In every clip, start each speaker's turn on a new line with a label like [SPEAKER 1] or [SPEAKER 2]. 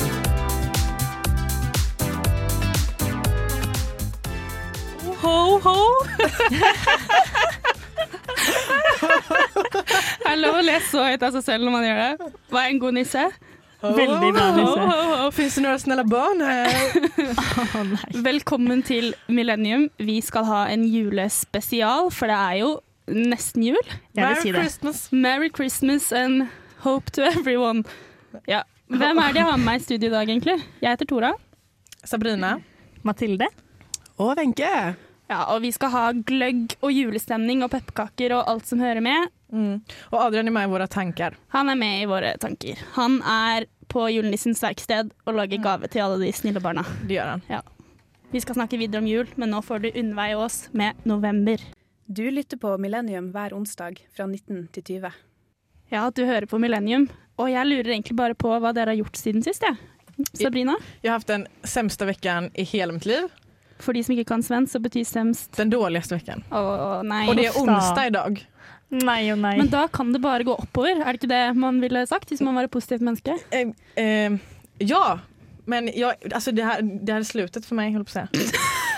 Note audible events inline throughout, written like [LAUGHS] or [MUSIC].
[SPEAKER 1] [LAUGHS] ho! er det lov å lese så høyt av seg selv når man gjør det? Hva er en god nisse?
[SPEAKER 2] Veldig bra,
[SPEAKER 1] Ho,
[SPEAKER 2] Nisse.
[SPEAKER 1] ho, ho.
[SPEAKER 3] Finns det några snälla barn här?
[SPEAKER 2] Å nei.
[SPEAKER 1] Velkommen til Millennium. Vi skal ha en julespesial, for det er jo nesten jul.
[SPEAKER 2] Jeg vil si det.
[SPEAKER 3] Christmas.
[SPEAKER 1] Merry Christmas and hope to everyone. Ja. Hvem er det jeg har med meg i studio i dag, egentlig? Jeg heter Tora.
[SPEAKER 3] Sabrina.
[SPEAKER 2] Mathilde?
[SPEAKER 3] Og Wenche.
[SPEAKER 1] Ja, og vi skal ha gløgg og julestemning og pepperkaker og alt som hører med.
[SPEAKER 3] Mm. Och Adrian är med i våra tankar.
[SPEAKER 1] Han er med i våre tanker. Han er på julenissens verksted og lager gave til alle de snille barna.
[SPEAKER 3] Det gör han.
[SPEAKER 1] Vi skal snakke videre om jul, men nå får du Unnveig Aas med 'November'.
[SPEAKER 4] Du lytter på Millennium hver onsdag fra 19 til 20.
[SPEAKER 1] Ja, du hører på Millennium, og jeg lurer egentlig bare på hva dere har gjort siden sist, jeg. Sabrina?
[SPEAKER 3] Jag har haft den sämsta veckan i hela mitt liv.
[SPEAKER 1] For de som ikke kan svensk, så betyr semst
[SPEAKER 3] Den dåligaste veckan.
[SPEAKER 1] Å, å, nei.
[SPEAKER 3] Och det är
[SPEAKER 2] Ofta.
[SPEAKER 3] onsdag idag.
[SPEAKER 2] Nei og nei.
[SPEAKER 1] Men da kan det bare gå oppover, er det ikke det man ville sagt hvis man var et positivt
[SPEAKER 3] [LAUGHS]
[SPEAKER 1] menneske?
[SPEAKER 3] Eh, eh, ja, men jag, alltså det, här, det här är slutet för mig, höll jag på att
[SPEAKER 1] [LAUGHS]
[SPEAKER 3] säga.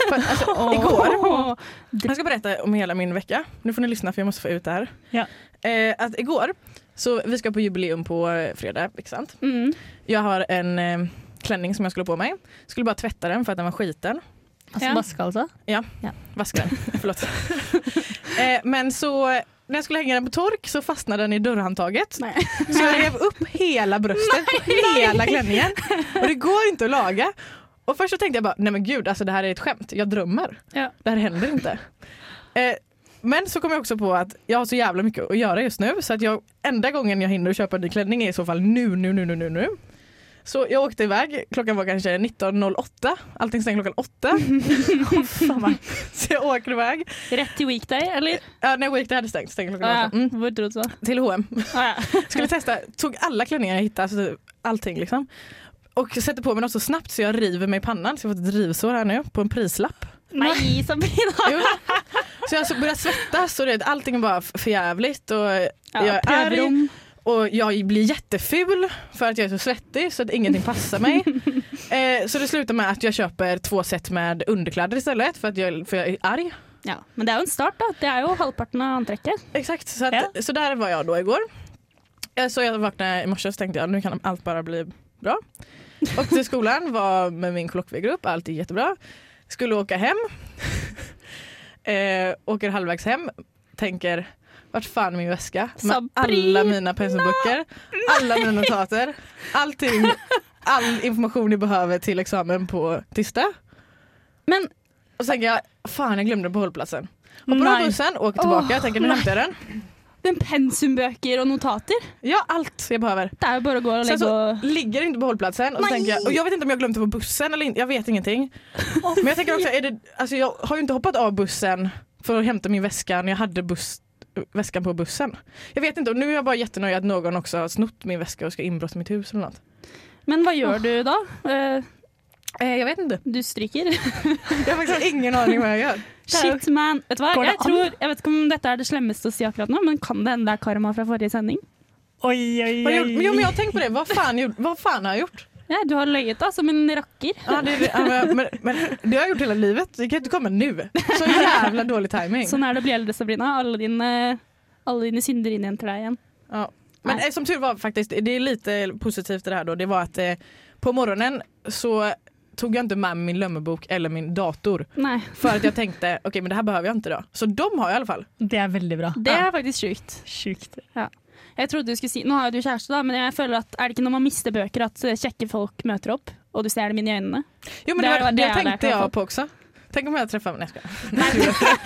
[SPEAKER 3] För, alltså, igår,
[SPEAKER 1] Åh,
[SPEAKER 3] jag ska berätta om hela min vecka. Nu får ni lyssna för jag måste få ut det här.
[SPEAKER 2] Ja.
[SPEAKER 3] Eh, att igår, så vi ska på jubileum på eh, fredag, inte sant?
[SPEAKER 1] Mm.
[SPEAKER 3] Jag har en eh, klänning som jag skulle ha på mig. Skulle bara tvätta den för att den var skiten.
[SPEAKER 2] Altså
[SPEAKER 1] Ja.
[SPEAKER 2] vaske, altså?
[SPEAKER 3] Vaska den, förlåt. eh, men så när jeg skulle hänga den på tork så fastnade den i dörrhandtaget.
[SPEAKER 1] Nei.
[SPEAKER 3] Så jag rev upp hela bröstet på hela klänningen. Och det går inte att laga. Och först så tänkte jag bara, nej men gud, alltså det här är ett skämt. Jag drömmer.
[SPEAKER 1] Ja.
[SPEAKER 3] Det här händer inte. Eh, men så kom jag också på att jag har så jävla mycket att göra just nu så att jag, enda gången jag hinner köpa en ny klänning är i så fall nu, nu, nu, nu, nu, nu. Så jag åkte iväg, klockan var kanske 19.08, allting stängde klockan 8. [LAUGHS] så jag åker iväg.
[SPEAKER 1] [LAUGHS] Rett til weekday, eller?
[SPEAKER 3] Ja, när Weekday hade stängt, stängde klockan
[SPEAKER 1] Ja,
[SPEAKER 3] 8. Mm,
[SPEAKER 1] Hvor dro
[SPEAKER 3] [LAUGHS]
[SPEAKER 1] du så?
[SPEAKER 3] till H&M
[SPEAKER 1] Ah, ja.
[SPEAKER 3] Skulle testa, tog alla klänningar jag hittade, alltså typ allting liksom. Och sätter på mig något så snabbt så jag river mig i pannan, så jag har fått ett rivsår här nu på en
[SPEAKER 1] [LAUGHS]
[SPEAKER 3] prislapp.
[SPEAKER 1] Nei, Sabrina!
[SPEAKER 3] Jo. Så jag så börjar svettas och det, allting är bara f- för jävligt och jag
[SPEAKER 1] Ja,
[SPEAKER 3] är arg
[SPEAKER 1] prøverom.
[SPEAKER 3] och jag blir jätteful för att jag är så svettig så att ingenting passar
[SPEAKER 1] [LAUGHS]
[SPEAKER 3] mig. eh, så det slutar med att jag köper två set med underkläder istället för att jag, för jag är arg.
[SPEAKER 1] Ja, men det er jo en start, da. Det er jo halvparten av antrekket.
[SPEAKER 3] Exakt, så, att,
[SPEAKER 2] Ja.
[SPEAKER 3] så där var jag då igår. Eh, Så jag vaknade i morse och så tänkte jag nu kan allt bara bli bra. Och till skolan var med min kollokviegrupp, allt är jättebra. Skulle åka hem. [LAUGHS] eh, åker halvvägs hem, tänker vart fan är min väska? Med
[SPEAKER 1] Sabrina!
[SPEAKER 3] alla mina penselböcker, alla mina notater, allting, all information jag behöver till examen på tisdag.
[SPEAKER 1] Men
[SPEAKER 3] Och sen tänker jag, fan jag glömde den på hållplatsen. Och på
[SPEAKER 2] Nej.
[SPEAKER 3] den bussen, åker tillbaka, tänker nu hämtar jag den.
[SPEAKER 1] den pensumbøker og notater,
[SPEAKER 3] Ja, allt jag behöver.
[SPEAKER 1] det er jo bare å gå og
[SPEAKER 3] Sen
[SPEAKER 1] legge
[SPEAKER 3] så
[SPEAKER 1] og
[SPEAKER 3] ligger det inte på hållplatsen och, så
[SPEAKER 1] Nej.
[SPEAKER 3] tänker jag, och jag vet inte om jag glömt det på bussen eller inte, jag vet ingenting. Men jag tänker också, är det, alltså jag har ju inte hoppat av bussen för att hämta min väska när jag hade buss, väskan på bussen. Jag vet inte, och nu är jag bara jättenöjd att någon också har snott min väska och ska ha inbrott i mitt hus eller något.
[SPEAKER 1] Men hva gjør du da? Eh,
[SPEAKER 3] Eh, jag vet inte.
[SPEAKER 1] Du stryker?
[SPEAKER 3] Jag har faktiskt ingen aning vad jag gör.
[SPEAKER 1] Shit, man. Vet du hva?
[SPEAKER 2] Går det
[SPEAKER 1] Jeg, tror, jeg vet ikke om dette er det slemmeste å si akkurat nå, men kan det hende det er karma fra forrige sending?
[SPEAKER 2] Oi, oi,
[SPEAKER 3] Vad gjorde, men, jo, men
[SPEAKER 2] oi.
[SPEAKER 3] jag har tänkt på det, vad fan, gjorde- vad fan har jag gjort?
[SPEAKER 1] Ja, du har løyet da, som en rakker.
[SPEAKER 3] Ja, det, ja, men, men, men det har jag gjort hela livet, det kan inte komma nu. Så jävla dålig timing.
[SPEAKER 1] Sånn er det å bli eldre, Sabrina. Alle dine, alle dine synder inn igjen til deg igjen.
[SPEAKER 3] Ja. Men
[SPEAKER 1] Nej.
[SPEAKER 3] eh, som tur var faktiskt, det är lite positivt i det här då, det var att eh, på morgonen så tog jeg ikke med min lommebok eller min dator
[SPEAKER 1] Nei,
[SPEAKER 3] för [LAUGHS] att jag tänkte okej men det här behöver jag inte då. Så de har jag i alla fall.
[SPEAKER 2] Det er veldig bra.
[SPEAKER 1] det er faktisk sjukt.
[SPEAKER 2] Sjukt.
[SPEAKER 1] Jeg trodde du skulle si, Nå har jo du kjæreste, da, men jeg føler at er det ikke når man mister bøker at eh, kjekke folk møter opp, og du ser dem inn i øynene?
[SPEAKER 3] Jo men det,
[SPEAKER 1] Det
[SPEAKER 3] var,
[SPEAKER 1] är-
[SPEAKER 3] det,
[SPEAKER 1] det är
[SPEAKER 3] tänkte
[SPEAKER 1] det i alla fall.
[SPEAKER 3] jag på också. Tänk om jag träffar, nej jag skojar.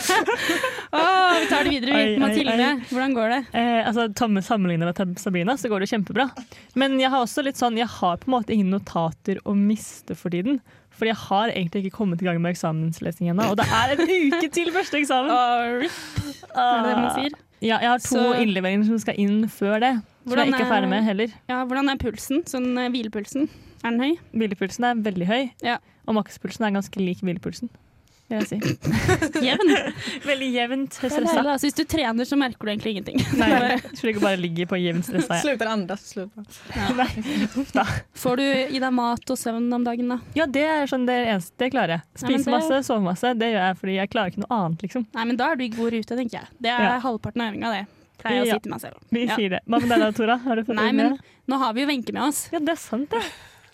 [SPEAKER 1] Åh, vi tar det videre.
[SPEAKER 2] Oi,
[SPEAKER 1] vi.
[SPEAKER 2] oi,
[SPEAKER 1] Mathilde,
[SPEAKER 2] oi.
[SPEAKER 1] hvordan går det?
[SPEAKER 2] Eh, altså, Tomme sammenligner med Tab- Sabrina, så går det kjempebra. Men jeg har også litt sånn, jeg har på en måte ingen notater å miste for tiden. For jeg har egentlig ikke kommet i gang med eksamenslesning ennå. Og det er en uke til første eksamen! Ah.
[SPEAKER 1] Er det det man sier?
[SPEAKER 2] Ja, jeg har to
[SPEAKER 1] Så-
[SPEAKER 2] innleveringer som skal inn før det. Som jeg
[SPEAKER 1] Hvordan
[SPEAKER 2] ikke er
[SPEAKER 1] er-
[SPEAKER 2] ferdig med heller.
[SPEAKER 1] Ja, hvordan er pulsen? Sånn eh, hvilepulsen? Er den høy?
[SPEAKER 2] Hvilepulsen er veldig høy,
[SPEAKER 1] Ja.
[SPEAKER 2] og makspulsen er ganske lik hvilepulsen. vil jeg si.
[SPEAKER 1] Jevn.
[SPEAKER 2] Veldig jevnt
[SPEAKER 1] Det er det
[SPEAKER 2] stressa.
[SPEAKER 1] hele, altså, hvis du trener, så merker du egentlig ingenting. [LAUGHS]
[SPEAKER 2] Nei, jeg tror ikke bare ligger på jevnt
[SPEAKER 3] [LAUGHS]
[SPEAKER 2] stressa. Jeg.
[SPEAKER 3] Slutar andas. Slutar.
[SPEAKER 2] Nei, uff da.
[SPEAKER 1] Får du i deg mat og søvn om dagen, da?
[SPEAKER 2] Ja, det er sånn det eneste det klarer jeg.
[SPEAKER 1] Nei, men
[SPEAKER 2] Spise
[SPEAKER 1] det-
[SPEAKER 2] masse, sove masse. Det gjør jeg fordi jeg klarer ikke noe annet, liksom.
[SPEAKER 1] Nei, men da er du i god rute, tenker jeg. Det er
[SPEAKER 2] Ja.
[SPEAKER 1] halvparten av øvinga, det. Pleier jeg
[SPEAKER 2] Ja.
[SPEAKER 1] å si til meg selv.
[SPEAKER 2] Vi
[SPEAKER 1] Ja.
[SPEAKER 2] sier det. Hva med deg da, Tora? Har du fått
[SPEAKER 1] Nei,
[SPEAKER 2] øynene?
[SPEAKER 1] men nå har vi jo Wenche med oss. [LAUGHS]
[SPEAKER 2] Ja, det er sant, det.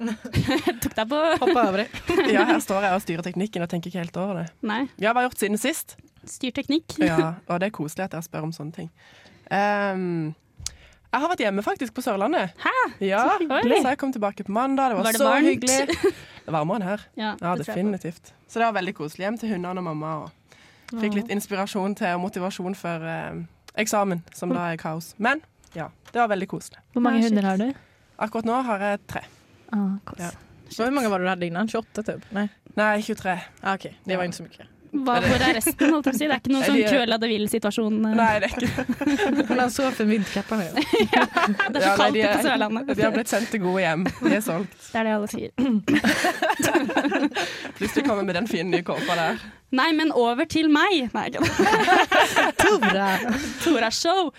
[SPEAKER 1] Jeg tok deg på [LAUGHS]
[SPEAKER 3] Hoppa [LAUGHS] over det.
[SPEAKER 5] Ja, her står jeg og styrer teknikken og tenker ikke helt over det.
[SPEAKER 1] Nei,
[SPEAKER 5] Ja, hva har jeg gjort siden sist?
[SPEAKER 1] styrteknikk.
[SPEAKER 5] Ja, og det er koselig at dere spør om sånne ting. Ehm, jeg har vært hjemme faktisk på Sørlandet. Hæ? Ja,
[SPEAKER 1] Så
[SPEAKER 5] så
[SPEAKER 1] hyggelig.
[SPEAKER 5] jeg kom tilbake på mandag. Det var,
[SPEAKER 1] Var det
[SPEAKER 5] så
[SPEAKER 1] varmt?
[SPEAKER 5] hyggelig. Det er varmere enn her.
[SPEAKER 1] [LAUGHS] Ja,
[SPEAKER 5] Ja,
[SPEAKER 1] det tror jeg på.
[SPEAKER 5] definitivt. Så det var veldig koselig. Hjem til hundene og mamma. Og fikk litt inspirasjon til og motivasjon for eh, eksamen, som da er kaos. Men ja, det var veldig koselig.
[SPEAKER 2] Hvor mange
[SPEAKER 1] Nei, shit.
[SPEAKER 2] hunder har du?
[SPEAKER 5] Akkurat nå har jeg tre.
[SPEAKER 2] Ah, kos.
[SPEAKER 5] Ja.
[SPEAKER 3] Så Hur många var det du hade innan? 28 typ? Nej.
[SPEAKER 5] Nei, 23.
[SPEAKER 3] Ah, Okej, det var inte så [LAUGHS] mycket.
[SPEAKER 1] Hva, hvor er resten? Holdt jeg på å si. Det er ikke noen
[SPEAKER 5] Nei,
[SPEAKER 1] sånn
[SPEAKER 5] de-
[SPEAKER 1] Cruella de Vil-situasjon. eh.
[SPEAKER 5] Nei, det er ikke
[SPEAKER 3] Hon har en så fin vindkappa nu.
[SPEAKER 1] [LAUGHS] Det er så
[SPEAKER 5] Ja, nei,
[SPEAKER 1] kaldt
[SPEAKER 5] de
[SPEAKER 1] ute på
[SPEAKER 5] er-
[SPEAKER 1] Sørlandet.
[SPEAKER 5] De har blitt sendt til gode hjem. De er solgt.
[SPEAKER 1] Det er det alle sier.
[SPEAKER 5] [LAUGHS] Plutselig kommer med den fine nye kåpa der.
[SPEAKER 1] Nei, men over til meg. Nei, ikke det.
[SPEAKER 3] Tora!
[SPEAKER 1] Tora Show.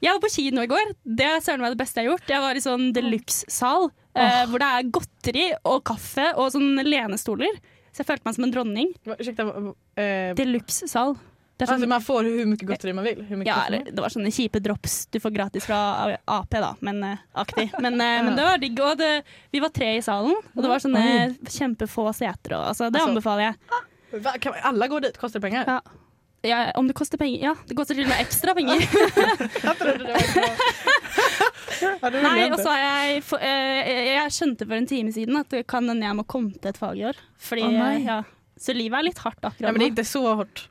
[SPEAKER 1] Jeg var på kino i går. Det er søren meg det beste jeg har gjort. Jeg var i sånn deluxe-sal eh, hvor det er godteri og kaffe og sånn lenestoler. Så jeg følte meg som en dronning.
[SPEAKER 3] Va- Ursäkta, va- va- eh,
[SPEAKER 1] Deluxe-sal. Det er
[SPEAKER 3] alltså
[SPEAKER 1] sånn
[SPEAKER 3] Altså, man får hur mycket gotteri man vill. Hur mycket
[SPEAKER 1] Ja,
[SPEAKER 3] kaffe man
[SPEAKER 1] eller det var sånne kjipe drops du får gratis fra Ap, da, men eh, aktig.
[SPEAKER 3] [LAUGHS]
[SPEAKER 1] Men, eh, men det var digg. Og det, vi var tre i salen, og det var sånne kjempefå seter. Og, altså, det
[SPEAKER 3] Altså-
[SPEAKER 1] anbefaler jeg.
[SPEAKER 3] vill. Va, kan alla går dit? Kostar det pengar?
[SPEAKER 1] Ja. Ja, om det koster penger Ja, det koster til og med ekstra penger.
[SPEAKER 3] Jag trodde det var bra. ja, det vill
[SPEAKER 1] Nei,
[SPEAKER 3] jag
[SPEAKER 1] og
[SPEAKER 3] inte.
[SPEAKER 1] så har jeg få- eh, Jeg skjønte for en time siden at det kan hende jeg må komme til et fag i år. Fordi,
[SPEAKER 2] Å, nei.
[SPEAKER 1] eh, ja. Så livet er litt hardt akkurat
[SPEAKER 3] Ja, men det är
[SPEAKER 1] nå.
[SPEAKER 3] inte så hårt.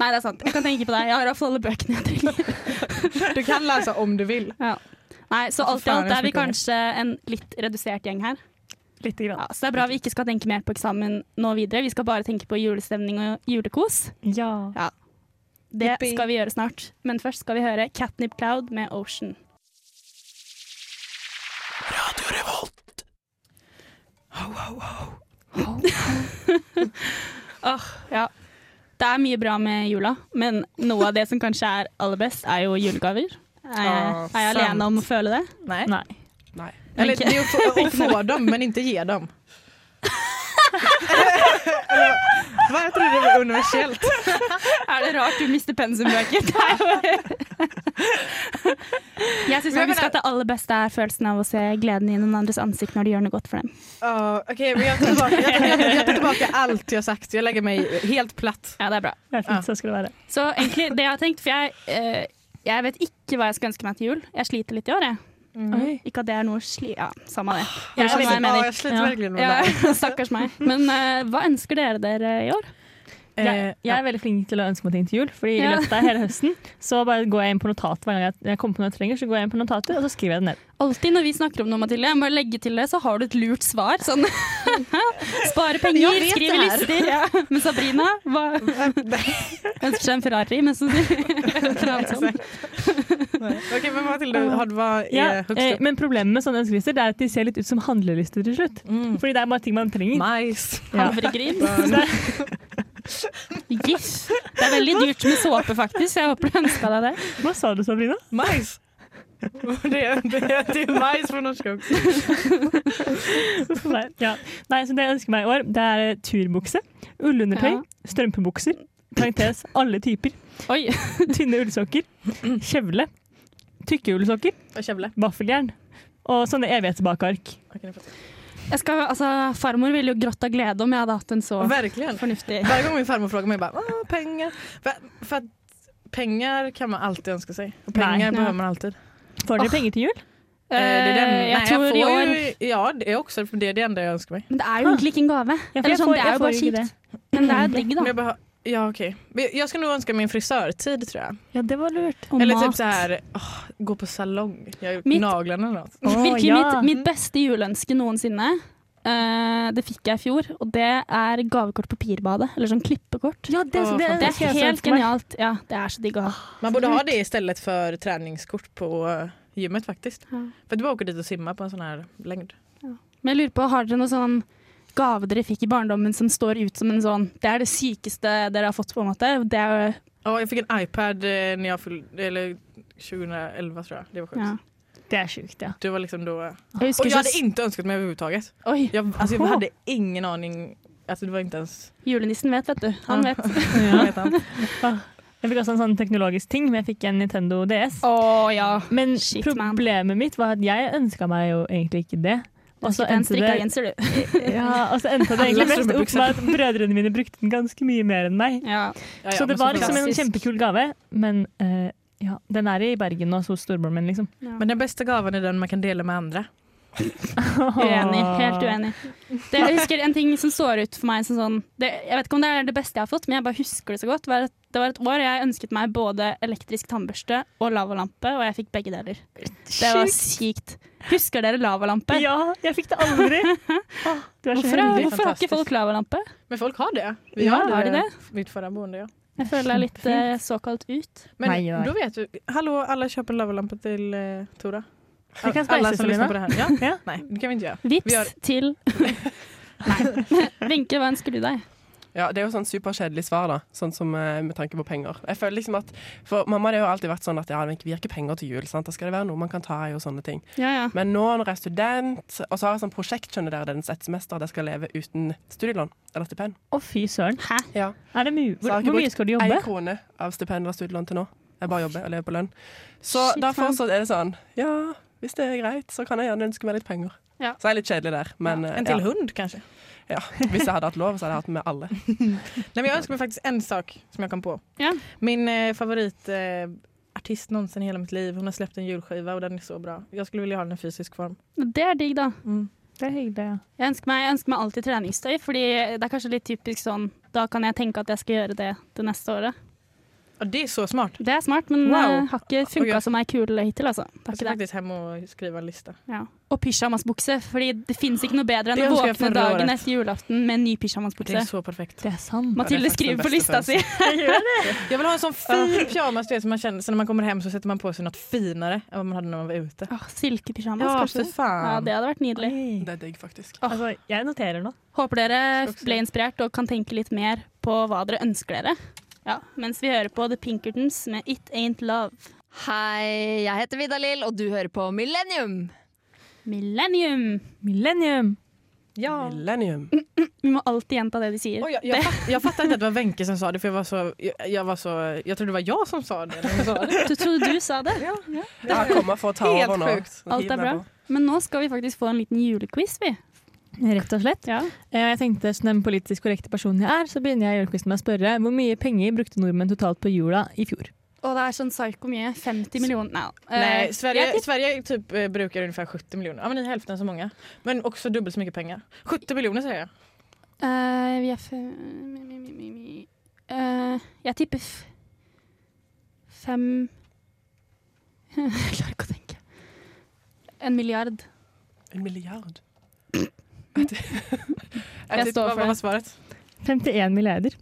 [SPEAKER 1] Nei, det er sant. Jeg kan tenke på deg. Jeg har iallfall alle bøkene jeg trenger.
[SPEAKER 3] Du kan läsa om du vill.
[SPEAKER 1] Nei, Så alt i
[SPEAKER 3] faen, jeg
[SPEAKER 1] alt er vi
[SPEAKER 3] skal ikke
[SPEAKER 1] kanskje en litt redusert gjeng her.
[SPEAKER 2] Lite grann.
[SPEAKER 1] Ja, så det er bra vi ikke skal tenke mer på eksamen nå videre. Vi skal bare tenke på julestemning og julekos.
[SPEAKER 2] Ja.
[SPEAKER 1] Det skal vi gjøre snart. Men først skal vi høre Catnip Cloud med Ocean. Åh, ja. Det er mye bra med jula, men noe av det som kanskje er aller best, er jo julegaver. Er jeg,
[SPEAKER 3] Ja,
[SPEAKER 1] er jeg
[SPEAKER 3] sant.
[SPEAKER 1] alene om å føle det?
[SPEAKER 3] Nej.
[SPEAKER 2] Nei.
[SPEAKER 5] Nei.
[SPEAKER 3] Eller det är att få, att [LAUGHS] få dem men inte ge dem. eller, va, jag trodde det var universellt.
[SPEAKER 1] Er det rart du mister pensumbøker? [LAUGHS] Det er jo- Jeg syns faktisk at det aller beste er følelsen av å se gleden i noen andres ansikt når de gjør noe godt for dem.
[SPEAKER 3] Ja, Okej, men jag tar, tillbaka, jag, tar, [LAUGHS] jag tar tillbaka allt jeg har sagt. Jag lägger mig helt platt.
[SPEAKER 1] Ja, det er bra.
[SPEAKER 2] Det er
[SPEAKER 3] Ja.
[SPEAKER 2] fint, så skal det være.
[SPEAKER 1] Så egentlig, det jeg har tenkt For jeg, eh, jeg vet ikke hva jeg skal ønske meg til jul. Jeg sliter litt i år, jeg.
[SPEAKER 2] Oi.
[SPEAKER 1] Ikke at det er noe sli... Ja, samme det. Jeg
[SPEAKER 2] Jeg er
[SPEAKER 1] skjønner hva jeg
[SPEAKER 2] veldig-
[SPEAKER 1] mener.
[SPEAKER 3] Mm. Ja, jag sliter
[SPEAKER 2] Ja.
[SPEAKER 3] verkligen med
[SPEAKER 1] Ja,
[SPEAKER 3] det.
[SPEAKER 1] [LAUGHS] stakkars meg. Men eh, hva ønsker dere dere i år?
[SPEAKER 2] Jeg,
[SPEAKER 3] Eh,
[SPEAKER 2] jeg er veldig flink til å ønske meg ting til jul, Fordi i
[SPEAKER 1] Ja.
[SPEAKER 2] løpet av hele høsten Så bare går jeg inn på notatet hver gang jeg, jeg kommer på noe jeg trenger. Så går jeg inn på notatet, og så skriver jeg det ned.
[SPEAKER 1] Alltid når vi snakker om noe, Mathilde, jeg må bare legge til det, så har du et lurt svar. Sånn [LAUGHS] spare
[SPEAKER 3] Jeg
[SPEAKER 1] penger,
[SPEAKER 3] vet
[SPEAKER 1] skrive
[SPEAKER 3] det her.
[SPEAKER 1] lister. Ja. Men Sabrina hva? [LAUGHS] ønsker seg en Ferrari, men så altså.
[SPEAKER 3] [LAUGHS] Okej, men Matilda, har du vad
[SPEAKER 2] Ja,
[SPEAKER 3] är högst
[SPEAKER 2] eh,
[SPEAKER 3] upp?
[SPEAKER 2] men problemet med sånne ønskelister Det er at de ser litt ut som handlelister til
[SPEAKER 1] [LAUGHS]
[SPEAKER 2] slutt.
[SPEAKER 3] Mm.
[SPEAKER 2] Fordi det er bare ting man trenger.
[SPEAKER 3] Majs.
[SPEAKER 2] Ja.
[SPEAKER 1] Havregryn. Giff. Det er veldig dyrt med såpe, faktisk. Jeg håper du ønska deg det.
[SPEAKER 2] Hva sa du,
[SPEAKER 1] [LAUGHS]
[SPEAKER 2] Sabrina?
[SPEAKER 3] Majs! [LAUGHS] Det är, det är, det är majs från norska också.
[SPEAKER 2] Nei, ja. Nei, så det jeg ønsker meg i år, det er eh, turbukse, ullundertøy,
[SPEAKER 1] Ja.
[SPEAKER 2] strømpebukser, parentes alle
[SPEAKER 1] [LAUGHS]
[SPEAKER 2] typer,
[SPEAKER 1] Oi.
[SPEAKER 2] tynne ullsokker, kjevle, tykke ullsokker,
[SPEAKER 3] Och kävle.
[SPEAKER 2] vaffeljern og sånne evighetsbakark.
[SPEAKER 1] Jeg skal, altså, farmor ville jo grått av glede om jeg hadde hatt en så
[SPEAKER 3] Verkligen.
[SPEAKER 1] fornuftig
[SPEAKER 3] Varje gång min farmor frågar mig bara, "Ah, pengar. För, för att pengar kan man alltid önska sig. Och pengar
[SPEAKER 2] Nej.
[SPEAKER 3] behöver man alltid.
[SPEAKER 2] Får dere penger til jul?
[SPEAKER 3] Eh, det är den-
[SPEAKER 1] Eh,
[SPEAKER 3] Nej,
[SPEAKER 1] Jeg tror
[SPEAKER 3] får
[SPEAKER 1] i år
[SPEAKER 3] Ju, ja, det är också för det är det enda jag önskar mig.
[SPEAKER 1] Men det er jo egentlig ikke en gave.
[SPEAKER 2] Ja, for
[SPEAKER 1] Eller
[SPEAKER 2] jeg
[SPEAKER 1] sånn,
[SPEAKER 2] får-
[SPEAKER 1] det
[SPEAKER 2] jeg
[SPEAKER 1] er jo
[SPEAKER 2] får
[SPEAKER 1] bare
[SPEAKER 2] jo ikke
[SPEAKER 1] kjipt. Men det er digg, da.
[SPEAKER 3] Men jag behö- Ja okej. Men Jag ska nog önska mig en frisörtid tror jeg.
[SPEAKER 2] Ja, det var lurt.
[SPEAKER 1] Og
[SPEAKER 3] Eller typ
[SPEAKER 1] mat.
[SPEAKER 3] så här, åh, gå på salong. Jag har gjort
[SPEAKER 1] Mitt-
[SPEAKER 3] naglarna eller något.
[SPEAKER 1] [LAUGHS] Virkelig mitt, mitt beste juleønske noensinne. Eh, det fikk jeg i fjor, og det er gavekort på Pirbadet. Eller sånn klippekort.
[SPEAKER 2] Ja, det,
[SPEAKER 3] Å,
[SPEAKER 2] det,
[SPEAKER 1] Det
[SPEAKER 2] skal
[SPEAKER 1] er
[SPEAKER 2] jeg
[SPEAKER 1] helt
[SPEAKER 2] se for meg.
[SPEAKER 1] genialt. Ja, det er så digg å ha.
[SPEAKER 3] Man borde ha det istället för träningskort på eh, gymmet faktiskt.
[SPEAKER 1] Ja.
[SPEAKER 3] För att du bara åker dit och simmar på en sån här längd.
[SPEAKER 1] Men jeg lurer på, har dere noe sånn gave dere fikk i barndommen som står ut som en sånn Det er det sykeste dere har fått, på en måte. Det er,
[SPEAKER 3] Ja, jag fick en iPad eh, när jag fyllde, eller 2011 tror jag. Det var sjukt.
[SPEAKER 1] ja.
[SPEAKER 2] Det är sjukt, ja.
[SPEAKER 3] Det var liksom då...
[SPEAKER 1] Jeg
[SPEAKER 3] Och
[SPEAKER 1] husker
[SPEAKER 3] jag
[SPEAKER 1] så
[SPEAKER 3] hade inte önskat mig överhuvudtaget.
[SPEAKER 1] Oj,
[SPEAKER 3] Jag, alltså, jag hade ingen aning. Alltså det var inte ens...
[SPEAKER 1] julenissen vet, vet du.
[SPEAKER 3] [LAUGHS]
[SPEAKER 1] Han
[SPEAKER 3] Ja.
[SPEAKER 1] vet.
[SPEAKER 3] Vad heter han?
[SPEAKER 2] Jeg fikk også en sånn teknologisk ting, men jeg fikk en Nintendo DS.
[SPEAKER 1] Å ja.
[SPEAKER 2] Men
[SPEAKER 1] Shit, man.
[SPEAKER 2] problemet mitt var at jeg ønska meg jo egentlig ikke det. Og så
[SPEAKER 1] en
[SPEAKER 2] endte
[SPEAKER 1] strikka
[SPEAKER 2] det,
[SPEAKER 1] genser, du.
[SPEAKER 2] [LAUGHS] ja, og så endte det egentlig
[SPEAKER 3] Alle
[SPEAKER 2] mest opp med at brødrene mine brukte den ganske mye mer enn meg.
[SPEAKER 1] Ja.
[SPEAKER 3] Ja, ja,
[SPEAKER 2] Så
[SPEAKER 3] men
[SPEAKER 2] det var
[SPEAKER 3] såklart.
[SPEAKER 2] liksom en
[SPEAKER 1] Klassisk.
[SPEAKER 2] kjempekul gave, men eh, ja, den er i Bergen og hos storebroren min, liksom.
[SPEAKER 3] Men den bästa gaven är den man kan dela med andra.
[SPEAKER 1] Uenig. Helt uenig. Det, jeg husker en ting som står ut for meg som sånn det, Jeg vet ikke om det er det beste jeg har fått, men jeg bare husker det så godt. Var at, det var et år jeg ønsket meg både elektrisk tannbørste og lavalampe, og jeg fikk begge deler. Det var sykt. Husker dere lavalampe?
[SPEAKER 2] Ja, jeg fikk det aldri! Åh, Du er så
[SPEAKER 1] Hvorfor, hvorfor
[SPEAKER 2] heldig.
[SPEAKER 1] har ikke
[SPEAKER 3] Fantastisk.
[SPEAKER 1] folk lavalampe?
[SPEAKER 3] Men folk har det.
[SPEAKER 1] Ja, har de det?
[SPEAKER 3] Mitt förra boende ja.
[SPEAKER 1] Jeg føler det er litt eh, såkalt ut.
[SPEAKER 3] Men
[SPEAKER 2] Nej, nej.
[SPEAKER 3] då vet du. Hallå alla köper lavalampa till eh, Tora.
[SPEAKER 2] Vi kan
[SPEAKER 3] alla
[SPEAKER 2] spleise,
[SPEAKER 3] som lyssnar på
[SPEAKER 2] Selina.
[SPEAKER 3] det här. Ja,
[SPEAKER 2] Ja.
[SPEAKER 3] nej det kan vi inte göra. Vi har-
[SPEAKER 1] Vips til Nei. Wenche, hva ønsker du deg?
[SPEAKER 5] Ja, Det er jo sånn superkjedelig svar, da. Sånn som eh, med tanke på penger. Jeg føler liksom at, For mamma det har jo alltid vært sånn at ja, vi gir ikke penger til jul. sant? Da skal det være noe man kan ta i og sånne ting.
[SPEAKER 1] Ja, ja.
[SPEAKER 5] Men nå når jeg er student, og så har jeg sånn prosjekt skjønner dere, det er et semester at jeg skal leve uten studielån eller stipend.
[SPEAKER 2] Å, fy søren.
[SPEAKER 1] Hæ?
[SPEAKER 5] Ja.
[SPEAKER 2] Er det mu
[SPEAKER 5] Så jeg
[SPEAKER 2] hvor,
[SPEAKER 5] har ikke
[SPEAKER 2] hvor mye
[SPEAKER 5] brukt
[SPEAKER 2] skal du
[SPEAKER 5] Én
[SPEAKER 2] jobbe?
[SPEAKER 5] krone av stipend og studielån til nå. Jeg bare jobber og lever på lønn. Så
[SPEAKER 1] Shit,
[SPEAKER 5] derfor
[SPEAKER 1] man.
[SPEAKER 5] så er det sånn Ja, hvis det er greit, så kan jeg gjerne ønske meg litt penger.
[SPEAKER 1] Ja.
[SPEAKER 5] Så jeg er litt kjedelig der, men eh,
[SPEAKER 3] En till
[SPEAKER 5] ja,
[SPEAKER 3] hund kanske.
[SPEAKER 5] ja. Hvis jeg hadde hatt lov, så hadde jeg hatt med alle.
[SPEAKER 3] Nej, men jag önskar mig faktiskt en sak som jag kom på.
[SPEAKER 1] Ja.
[SPEAKER 3] Min eh, favorit eh, artist någonsin i hela mitt liv. Hon har släppt en julskiva och den är så bra. Jag skulle vilja ha den i fysisk form.
[SPEAKER 1] Det er digg, da.
[SPEAKER 2] Det er hyggelig, ja.
[SPEAKER 1] Jeg ønsker, meg, jeg ønsker meg alltid treningstøy, fordi det er kanskje litt typisk sånn Da kan jeg tenke at jeg skal gjøre det det neste året.
[SPEAKER 3] Ja, det är så smart.
[SPEAKER 1] Det er smart, men
[SPEAKER 3] Wow.
[SPEAKER 1] eh, har ikke funka
[SPEAKER 3] Ok.
[SPEAKER 1] som ei kule hittil, altså. Det
[SPEAKER 3] Jag
[SPEAKER 1] har
[SPEAKER 3] ska
[SPEAKER 1] ikke det.
[SPEAKER 3] faktiskt hem och skriva en lista.
[SPEAKER 1] Ja. Og pysjamasbukse, fordi det fins ikke noe bedre enn
[SPEAKER 3] Det
[SPEAKER 1] å
[SPEAKER 3] ønsker jeg
[SPEAKER 1] våkne
[SPEAKER 3] forrige
[SPEAKER 1] dagen
[SPEAKER 3] året.
[SPEAKER 1] etter julaften med en ny
[SPEAKER 3] Det är
[SPEAKER 1] pysjamasbukse.
[SPEAKER 3] så perfekt.
[SPEAKER 2] Det er sant.
[SPEAKER 5] Ja, det
[SPEAKER 1] Mathilde
[SPEAKER 5] er faktisk den
[SPEAKER 1] skriver på
[SPEAKER 5] beste
[SPEAKER 1] lista si.
[SPEAKER 3] Jag vill ha en sån fin pyjamas du vet, som man känner, så när man kommer hem så sätter man på sig något finare än vad man hade när man var ute.
[SPEAKER 1] [LAUGHS] Åh, Silkepysjamas,
[SPEAKER 3] Ja, för
[SPEAKER 1] kanskje. Ja,
[SPEAKER 3] fan.
[SPEAKER 1] det hadde vært nydelig.
[SPEAKER 2] Oi.
[SPEAKER 5] Det er digg, faktisk.
[SPEAKER 2] Altså, jeg noterer nå.
[SPEAKER 1] Håper dere
[SPEAKER 3] Skal også.
[SPEAKER 1] ble inspirert og kan tenke litt mer på hva dere ønsker dere. Ja, mens vi hører på The Pinkertons med It Ain't Love.
[SPEAKER 6] Hei, jeg heter Vidalil, og du hører på Millennium.
[SPEAKER 1] Millennium!
[SPEAKER 2] Millennium.
[SPEAKER 3] Ja.
[SPEAKER 5] Millennium.
[SPEAKER 1] Vi må alltid gjenta det de sier.
[SPEAKER 3] Oj, jag, jag, fatt, jag fattar inte att det var Wenche som sa det för jag var så, jag, jag var så, jag trodde det var jeg som sa det. när hon sa det.
[SPEAKER 1] Du trodde du sa det?
[SPEAKER 5] Jeg kommer for å ta
[SPEAKER 3] Helt
[SPEAKER 5] over nå.
[SPEAKER 3] sjukt.
[SPEAKER 5] Så hiv
[SPEAKER 1] Alt er
[SPEAKER 5] meg
[SPEAKER 1] bra.
[SPEAKER 5] på.
[SPEAKER 1] Men nå skal vi faktisk få en liten julequiz, vi.
[SPEAKER 2] Rett og slett.
[SPEAKER 1] Ja.
[SPEAKER 2] Eh, Jeg tenkte Som den politisk korrekte personen jeg er, så begynner jeg julequizen med å spørre hvor mye penger brukte nordmenn totalt på jula i fjor?
[SPEAKER 1] Og det er sånn psyko mye. 50 millioner Nei. da. [LAUGHS] Eh,
[SPEAKER 3] Nej, Sverige,
[SPEAKER 1] jeg tipp-
[SPEAKER 3] Sverige typ eh, brukar ungefär 70 miljoner. Ja, men ni är hälften så många. Men också dubbelt så mycket pengar. 70 miljoner säger jag.
[SPEAKER 1] Eh, vi er fe- mi, mi, mi, mi, mi. Eh, Jeg tipper f fem [LAUGHS] Jeg klarer ikke å tenke. En milliard.
[SPEAKER 5] En milliard.
[SPEAKER 1] Jeg
[SPEAKER 3] Eh, typ-
[SPEAKER 1] står
[SPEAKER 3] vad-
[SPEAKER 1] för
[SPEAKER 3] Vad
[SPEAKER 1] det.
[SPEAKER 3] var svaret?
[SPEAKER 2] 51 milliarder.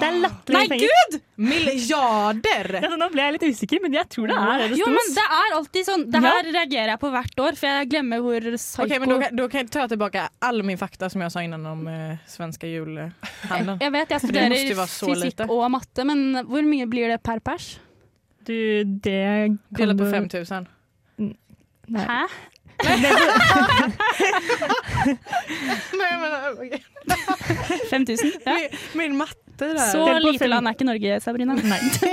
[SPEAKER 2] Det er latterlig
[SPEAKER 1] Nei,
[SPEAKER 2] mye penger.
[SPEAKER 1] gud!
[SPEAKER 3] Miljarder!
[SPEAKER 1] [LAUGHS]
[SPEAKER 2] Ja, så nå ble jeg litt usikker, men jeg tror det er det det
[SPEAKER 1] Jo,
[SPEAKER 2] sto.
[SPEAKER 1] men det er alltid sånn. Det her reagerer jeg på hvert år, for jeg glemmer hvor psyko
[SPEAKER 3] Okej, men då, kan- då kan jag ta tillbaka all min fakta som jag sa innan om eh, svenska
[SPEAKER 1] [LAUGHS]
[SPEAKER 3] julhandeln.
[SPEAKER 1] Jeg vet jeg
[SPEAKER 3] det måste jo
[SPEAKER 1] studerer
[SPEAKER 3] være så
[SPEAKER 1] fysikk
[SPEAKER 3] lite.
[SPEAKER 1] og matte, men hvor mye blir det per pers?
[SPEAKER 2] Du, det kan
[SPEAKER 3] Dela på
[SPEAKER 2] du-
[SPEAKER 3] 5 000.
[SPEAKER 2] Nei.
[SPEAKER 1] Hæ?
[SPEAKER 3] Nej, men, äh, okej.
[SPEAKER 1] 5000? Ja.
[SPEAKER 3] min, min matte där.
[SPEAKER 1] Så
[SPEAKER 2] Del på
[SPEAKER 1] lite
[SPEAKER 2] fem.
[SPEAKER 1] land er ikke Norge, Sabrina. Nei.
[SPEAKER 3] jag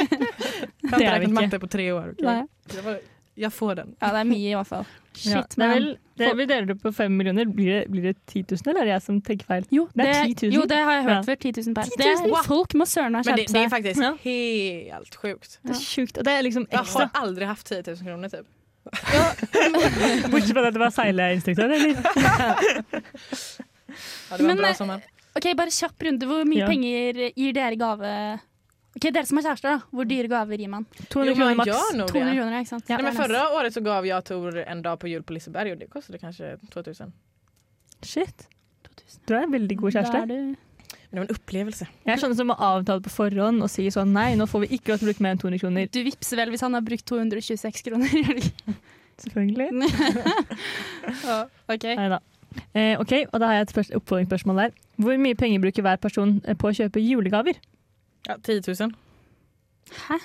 [SPEAKER 2] det
[SPEAKER 3] har
[SPEAKER 2] är
[SPEAKER 3] inte
[SPEAKER 2] vi
[SPEAKER 3] räknat
[SPEAKER 2] inte.
[SPEAKER 3] matte på tre år. okej?
[SPEAKER 1] [LAUGHS] Nei.
[SPEAKER 3] Det var, jag får den.
[SPEAKER 1] Ja, det er mye i hvert fall.
[SPEAKER 2] Ja,
[SPEAKER 1] Shit,
[SPEAKER 2] det er
[SPEAKER 1] men
[SPEAKER 2] vel, det, vi deler det på 5 millioner. Blir det, blir det 10 000, eller er det jeg som tenker feil?
[SPEAKER 1] jo
[SPEAKER 2] det
[SPEAKER 1] det,
[SPEAKER 2] er 10 000.
[SPEAKER 1] jo, det har jeg hørt
[SPEAKER 2] Ja.
[SPEAKER 1] før. 10 000 per.
[SPEAKER 2] 10
[SPEAKER 1] Det
[SPEAKER 2] 000, wow.
[SPEAKER 1] er, folk må søren meg
[SPEAKER 3] Men det,
[SPEAKER 1] skjerpe
[SPEAKER 3] det är
[SPEAKER 1] seg.
[SPEAKER 3] faktiskt
[SPEAKER 2] Ja.
[SPEAKER 3] helt sjukt.
[SPEAKER 2] Det er sjukt. Og det er liksom
[SPEAKER 3] Jag har
[SPEAKER 2] ekstra.
[SPEAKER 3] aldrig haft 10 000 kronor typ.
[SPEAKER 2] [LAUGHS] Bortsett fra at det var seileinstruktør, eller?
[SPEAKER 3] Ja, det var
[SPEAKER 1] Men,
[SPEAKER 3] en bra
[SPEAKER 1] eh,
[SPEAKER 3] sommar.
[SPEAKER 1] Ok, Bare kjapp runde. Hvor mye
[SPEAKER 2] Ja.
[SPEAKER 1] penger gir dere i gave? Ok, Dere som har kjærester, da. Hvor dyre gaver gir man?
[SPEAKER 2] 200
[SPEAKER 3] Jo,
[SPEAKER 2] kroner
[SPEAKER 3] man
[SPEAKER 2] maks.
[SPEAKER 3] gör nog
[SPEAKER 1] 200
[SPEAKER 3] det.
[SPEAKER 1] kroner, ja, ikke sant?
[SPEAKER 2] Ja.
[SPEAKER 1] Det
[SPEAKER 3] Nej,
[SPEAKER 1] er
[SPEAKER 3] men
[SPEAKER 1] nesten-
[SPEAKER 3] förra året så gav jag Tor en dag på jul på Liseberg og det kostade kanske 2000.
[SPEAKER 2] Shit.
[SPEAKER 1] 2000.
[SPEAKER 2] Du er en veldig god
[SPEAKER 1] Da
[SPEAKER 2] kjæreste.
[SPEAKER 1] er du-
[SPEAKER 3] Men det var en upplevelse.
[SPEAKER 2] Jeg er sånn som må avtale på forhånd og si sånn nei, nå får vi ikke lov til å bruke mer enn 200 kroner.
[SPEAKER 1] Du vippser vel hvis han har brukt 226 kroner?
[SPEAKER 2] Selvfølgelig.
[SPEAKER 1] OK.
[SPEAKER 2] Neida. Eh, ok, og da har jeg et spørs- oppfølgingsspørsmål der. Hvor mye penger bruker hver person eh, på å kjøpe julegaver?
[SPEAKER 3] Ja, 10 000.
[SPEAKER 1] Hæ?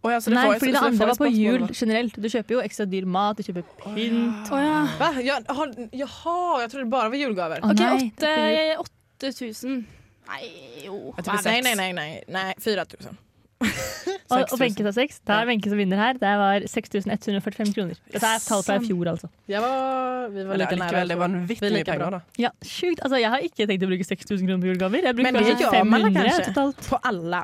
[SPEAKER 5] Å ja, så det
[SPEAKER 2] Nei,
[SPEAKER 5] får- så
[SPEAKER 2] fordi det
[SPEAKER 5] får
[SPEAKER 2] andre var på
[SPEAKER 5] spørsmål,
[SPEAKER 2] jul
[SPEAKER 5] da.
[SPEAKER 2] generelt. Du kjøper jo ekstra dyr mat, du kjøper pynt.
[SPEAKER 1] Å ja.
[SPEAKER 3] Va? Ja, har, jaha, jeg trodde det bare var julegaver.
[SPEAKER 2] Å
[SPEAKER 1] OK,
[SPEAKER 2] nei,
[SPEAKER 1] åtte-
[SPEAKER 2] det
[SPEAKER 1] 8000. Nei, jo
[SPEAKER 5] Jeg tror det
[SPEAKER 3] Nei,
[SPEAKER 5] er seks.
[SPEAKER 3] nei, nei, nei, nei. 4000.
[SPEAKER 2] blir- Og, og Wenche sa seks. Det er Wenche som vinner her. Det var 6145 kroner. Dette er tall fra i
[SPEAKER 1] Sann.
[SPEAKER 2] fjor, altså.
[SPEAKER 3] Jeg var, vi var
[SPEAKER 5] Men
[SPEAKER 3] like
[SPEAKER 5] allikevel,
[SPEAKER 3] nære.
[SPEAKER 5] det var vanvittig
[SPEAKER 3] Vi
[SPEAKER 5] mye
[SPEAKER 3] liker bra.
[SPEAKER 5] penger, da.
[SPEAKER 2] Ja, sjukt. Altså, jeg har ikke tenkt å bruke 6000 kroner på julegaver. Jeg bruker
[SPEAKER 3] Men det
[SPEAKER 2] kanskje
[SPEAKER 3] gjør man da,
[SPEAKER 2] 500
[SPEAKER 3] kanskje?
[SPEAKER 2] totalt.
[SPEAKER 3] På alle.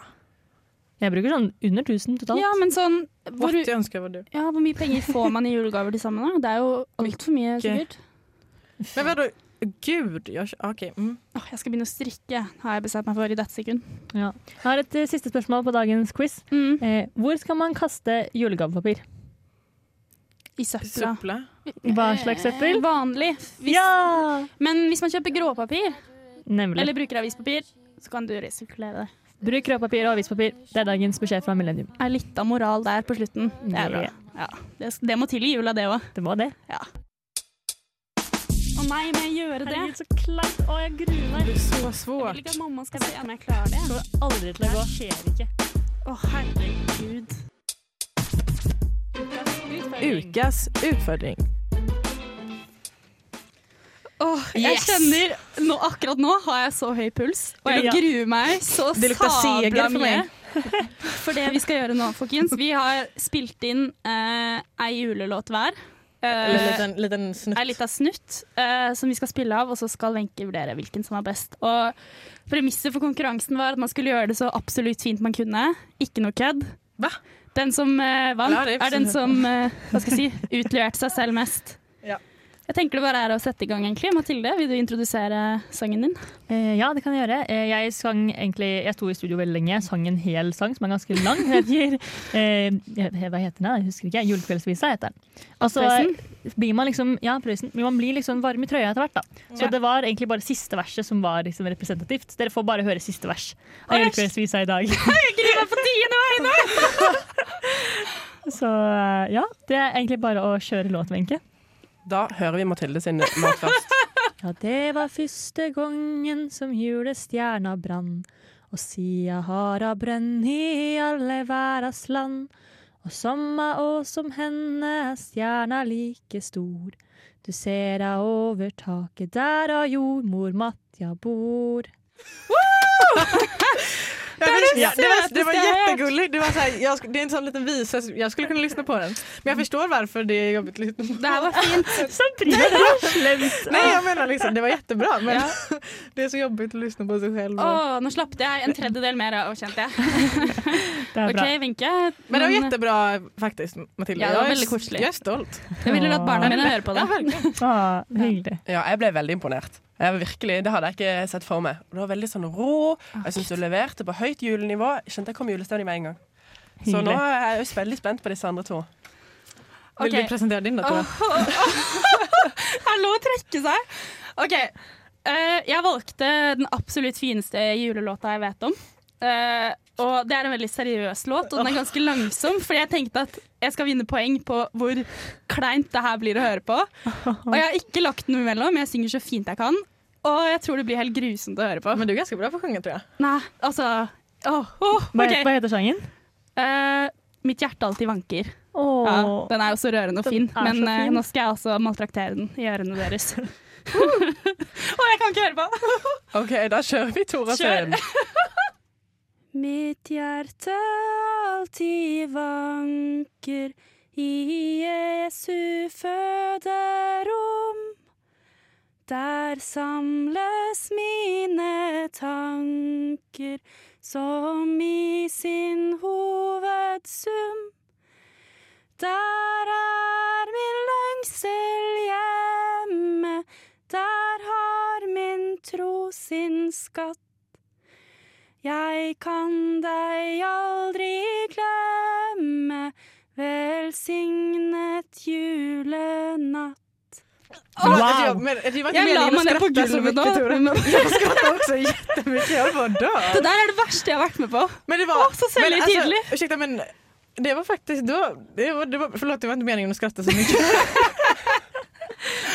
[SPEAKER 2] Jeg bruker sånn under 1000 totalt.
[SPEAKER 1] Ja, men sånn hvor,
[SPEAKER 3] What jeg ønsker var du.
[SPEAKER 1] ja, hvor mye penger får man i julegaver til sammen? da? Det er jo altfor mye, sikkert.
[SPEAKER 3] Men vadå? Gud, jeg kj- OK. Mm.
[SPEAKER 1] Åh, jeg skal begynne å strikke, har jeg bestemt meg for i dette sekund.
[SPEAKER 2] Jeg har et eh, siste spørsmål på dagens quiz.
[SPEAKER 1] Mm.
[SPEAKER 2] Eh, hvor skal man kaste julegavepapir?
[SPEAKER 1] I søpla.
[SPEAKER 3] Supple.
[SPEAKER 2] Hva slags søppel?
[SPEAKER 1] Eh, Vanlig. Hvis,
[SPEAKER 2] Ja!
[SPEAKER 1] Men hvis man kjøper gråpapir,
[SPEAKER 2] Nemlig.
[SPEAKER 1] eller bruker avispapir, så kan du resirkulere det.
[SPEAKER 2] Bruk rødpapir og avispapir. Det er dagens beskjed fra Millennium.
[SPEAKER 1] Er litt av moral der på slutten. Det er bra. Ja. Det, det må til i jula, det òg.
[SPEAKER 2] Det må det.
[SPEAKER 1] Å nei, må jeg gjøre det?
[SPEAKER 2] så kleint. Å, jeg gruer meg.
[SPEAKER 3] Det er så
[SPEAKER 1] Jeg
[SPEAKER 3] svårt.
[SPEAKER 1] vil ikke at mamma skal se om jeg klarer det.
[SPEAKER 2] kommer aldri til å gå. Det skjer ikke.
[SPEAKER 1] Å, herregud.
[SPEAKER 3] Ukas utfordring.
[SPEAKER 1] Åh, jeg
[SPEAKER 6] Yes!
[SPEAKER 1] kjenner nå, Akkurat nå har jeg så høy puls, og jeg
[SPEAKER 2] Ja.
[SPEAKER 1] gruer meg så
[SPEAKER 3] Det lukter seger
[SPEAKER 1] sabla
[SPEAKER 3] for
[SPEAKER 1] mye.
[SPEAKER 3] meg.
[SPEAKER 1] [LAUGHS] For det vi skal gjøre nå, folkens Vi har spilt inn eh, ei julelåt hver.
[SPEAKER 3] En
[SPEAKER 1] Eh,
[SPEAKER 3] liten, liten snutt.
[SPEAKER 1] ei lita snutt eh, som vi skal spille av, og så skal Wenche vurdere hvilken som er best. Og Premisset for konkurransen var at man skulle gjøre det så absolutt fint man kunne. Ikke noe kødd.
[SPEAKER 3] Hva?
[SPEAKER 1] Den som eh, vant,
[SPEAKER 3] Ja, det er
[SPEAKER 1] er den som eh, hva skal jeg si, utleverte seg selv mest.
[SPEAKER 3] Ja.
[SPEAKER 1] Jeg tenker det bare er å sette i gang, egentlig. Mathilde, vil du introdusere sangen din?
[SPEAKER 2] Eh, ja, det kan jeg gjøre. Eh, jeg sang egentlig Jeg sto i studio veldig lenge. Jeg sang en hel sang som er ganske lang. Den Heter, eh, jeg vet- hva heter den? Jeg husker ikke. 'Julekveldsvisa' heter den. Og så blir man liksom Ja, Prøysen. Men man blir liksom varm i trøya etter hvert, da. Så
[SPEAKER 1] Ja.
[SPEAKER 2] det var egentlig bare siste verset som var liksom representativt. Dere får bare høre siste vers av
[SPEAKER 1] Æsj!
[SPEAKER 2] 'Julekveldsvisa'
[SPEAKER 1] [LAUGHS]
[SPEAKER 2] i dag.
[SPEAKER 1] Skriv meg på tiende vegne!
[SPEAKER 2] [LAUGHS] Så eh, ja, det er egentlig bare å kjøre låt, Wenche.
[SPEAKER 5] Da hører vi Mathilde sin låt først.
[SPEAKER 2] Ja, det var første gangen som julestjerna brann. Og sia har hun brønn i alle verdens land. Og somma å som henne er stjerna like stor. Du ser ei over taket der av jordmor Matja bor.
[SPEAKER 3] Ja, det,
[SPEAKER 1] det
[SPEAKER 3] ja, det, var, det var
[SPEAKER 1] sötaste jag hört.
[SPEAKER 3] jättegulligt. Det, var så här, jag, sk- det är en sån liten visa, så jag skulle kunna lyssna på den. Men jag förstår varför det är jobbigt att lyssna på.
[SPEAKER 1] Det her var fint.
[SPEAKER 2] Sabrina, det var slemt!
[SPEAKER 3] Nej, [LAUGHS] jag menar liksom, det var jättebra, men [LAUGHS] det är så jobbigt att lyssna på sig själv.
[SPEAKER 1] Å, nå slapp jeg en tredjedel mer av, kjente jeg.
[SPEAKER 2] Det er
[SPEAKER 1] OK,
[SPEAKER 2] bra.
[SPEAKER 1] Wenche.
[SPEAKER 3] men det var
[SPEAKER 1] men
[SPEAKER 3] jättebra faktiskt, Matilda.
[SPEAKER 1] Ja, det var
[SPEAKER 3] jag, är,
[SPEAKER 1] väldigt
[SPEAKER 3] s-
[SPEAKER 1] koselig.
[SPEAKER 3] jag är stolt.
[SPEAKER 1] Jeg ville latt barna mine høre på det.
[SPEAKER 3] Ja, verkligen.
[SPEAKER 2] Ah, hyggelig.
[SPEAKER 5] Ja, jeg ble veldig imponert. Jeg var virkelig, Det hadde jeg ikke sett for meg. Og Det var veldig sånn rå. og Jeg syns du leverte på høyt julenivå. Jeg Skjønte jeg kom i julestemning med en gang. Så nå
[SPEAKER 2] hyggelig.
[SPEAKER 5] er jeg også veldig spent på disse andre to.
[SPEAKER 3] Vill
[SPEAKER 1] Okej.
[SPEAKER 3] du presentera din då? Tora?
[SPEAKER 1] Det er lov å trekke seg. OK. eh, jeg valgte den absolutt fineste julelåta jeg vet om. Eh, og det er en veldig seriøs låt, og den er ganske langsom, fordi jeg tenkte at jeg skal vinne poeng på hvor kleint det her blir å høre på. Og jeg har ikke lagt noe imellom, jeg synger så fint jeg kan. Og jeg tror det blir helt grusomt å høre på.
[SPEAKER 3] Men du är ganska bra på att sjunga tror jag.
[SPEAKER 1] Nei, altså åh, åh,
[SPEAKER 2] Hva,
[SPEAKER 1] OK.
[SPEAKER 2] het- hva heter sangen?
[SPEAKER 1] Eh, mitt hjerte alltid vanker.
[SPEAKER 2] Åh.
[SPEAKER 1] Ja, den er jo så rørende og
[SPEAKER 2] Den
[SPEAKER 1] fin,
[SPEAKER 2] er
[SPEAKER 1] men
[SPEAKER 2] så
[SPEAKER 1] eh,
[SPEAKER 2] fin.
[SPEAKER 1] nå skal jeg også maltraktere den i ørene deres. [LAUGHS] Å, jeg kan ikke høre på!
[SPEAKER 5] OK, da kjører vi Tora
[SPEAKER 1] Kjør.
[SPEAKER 5] sin.
[SPEAKER 1] Mitt hjerte alltid vanker i Jesu føderom. Der samles mine tanker som i sin hovedsum. Der er min lengsel hjemme, der har min tro sin skatt. Jeg kan deg aldri glemme, velsignet julenatt.
[SPEAKER 3] Det var-
[SPEAKER 2] Wow.
[SPEAKER 3] alltså, jag- men det var inte
[SPEAKER 1] Jag la
[SPEAKER 3] meningen
[SPEAKER 1] mig
[SPEAKER 3] att
[SPEAKER 1] ner på
[SPEAKER 3] skratta så
[SPEAKER 1] golvet
[SPEAKER 3] mycket
[SPEAKER 1] då.
[SPEAKER 3] Tora. Jag skrattade också jättemycket, [LAUGHS] jag höll på att dö.
[SPEAKER 1] [LAUGHS] Det der er det verste jeg har vært med på.
[SPEAKER 3] Men det var...
[SPEAKER 1] Å, så
[SPEAKER 3] men
[SPEAKER 1] selvhøytidelig!
[SPEAKER 3] Alltså, ursäkta men det var faktiskt då, det var, det var, förlåt det var inte meningen att skratta så mycket.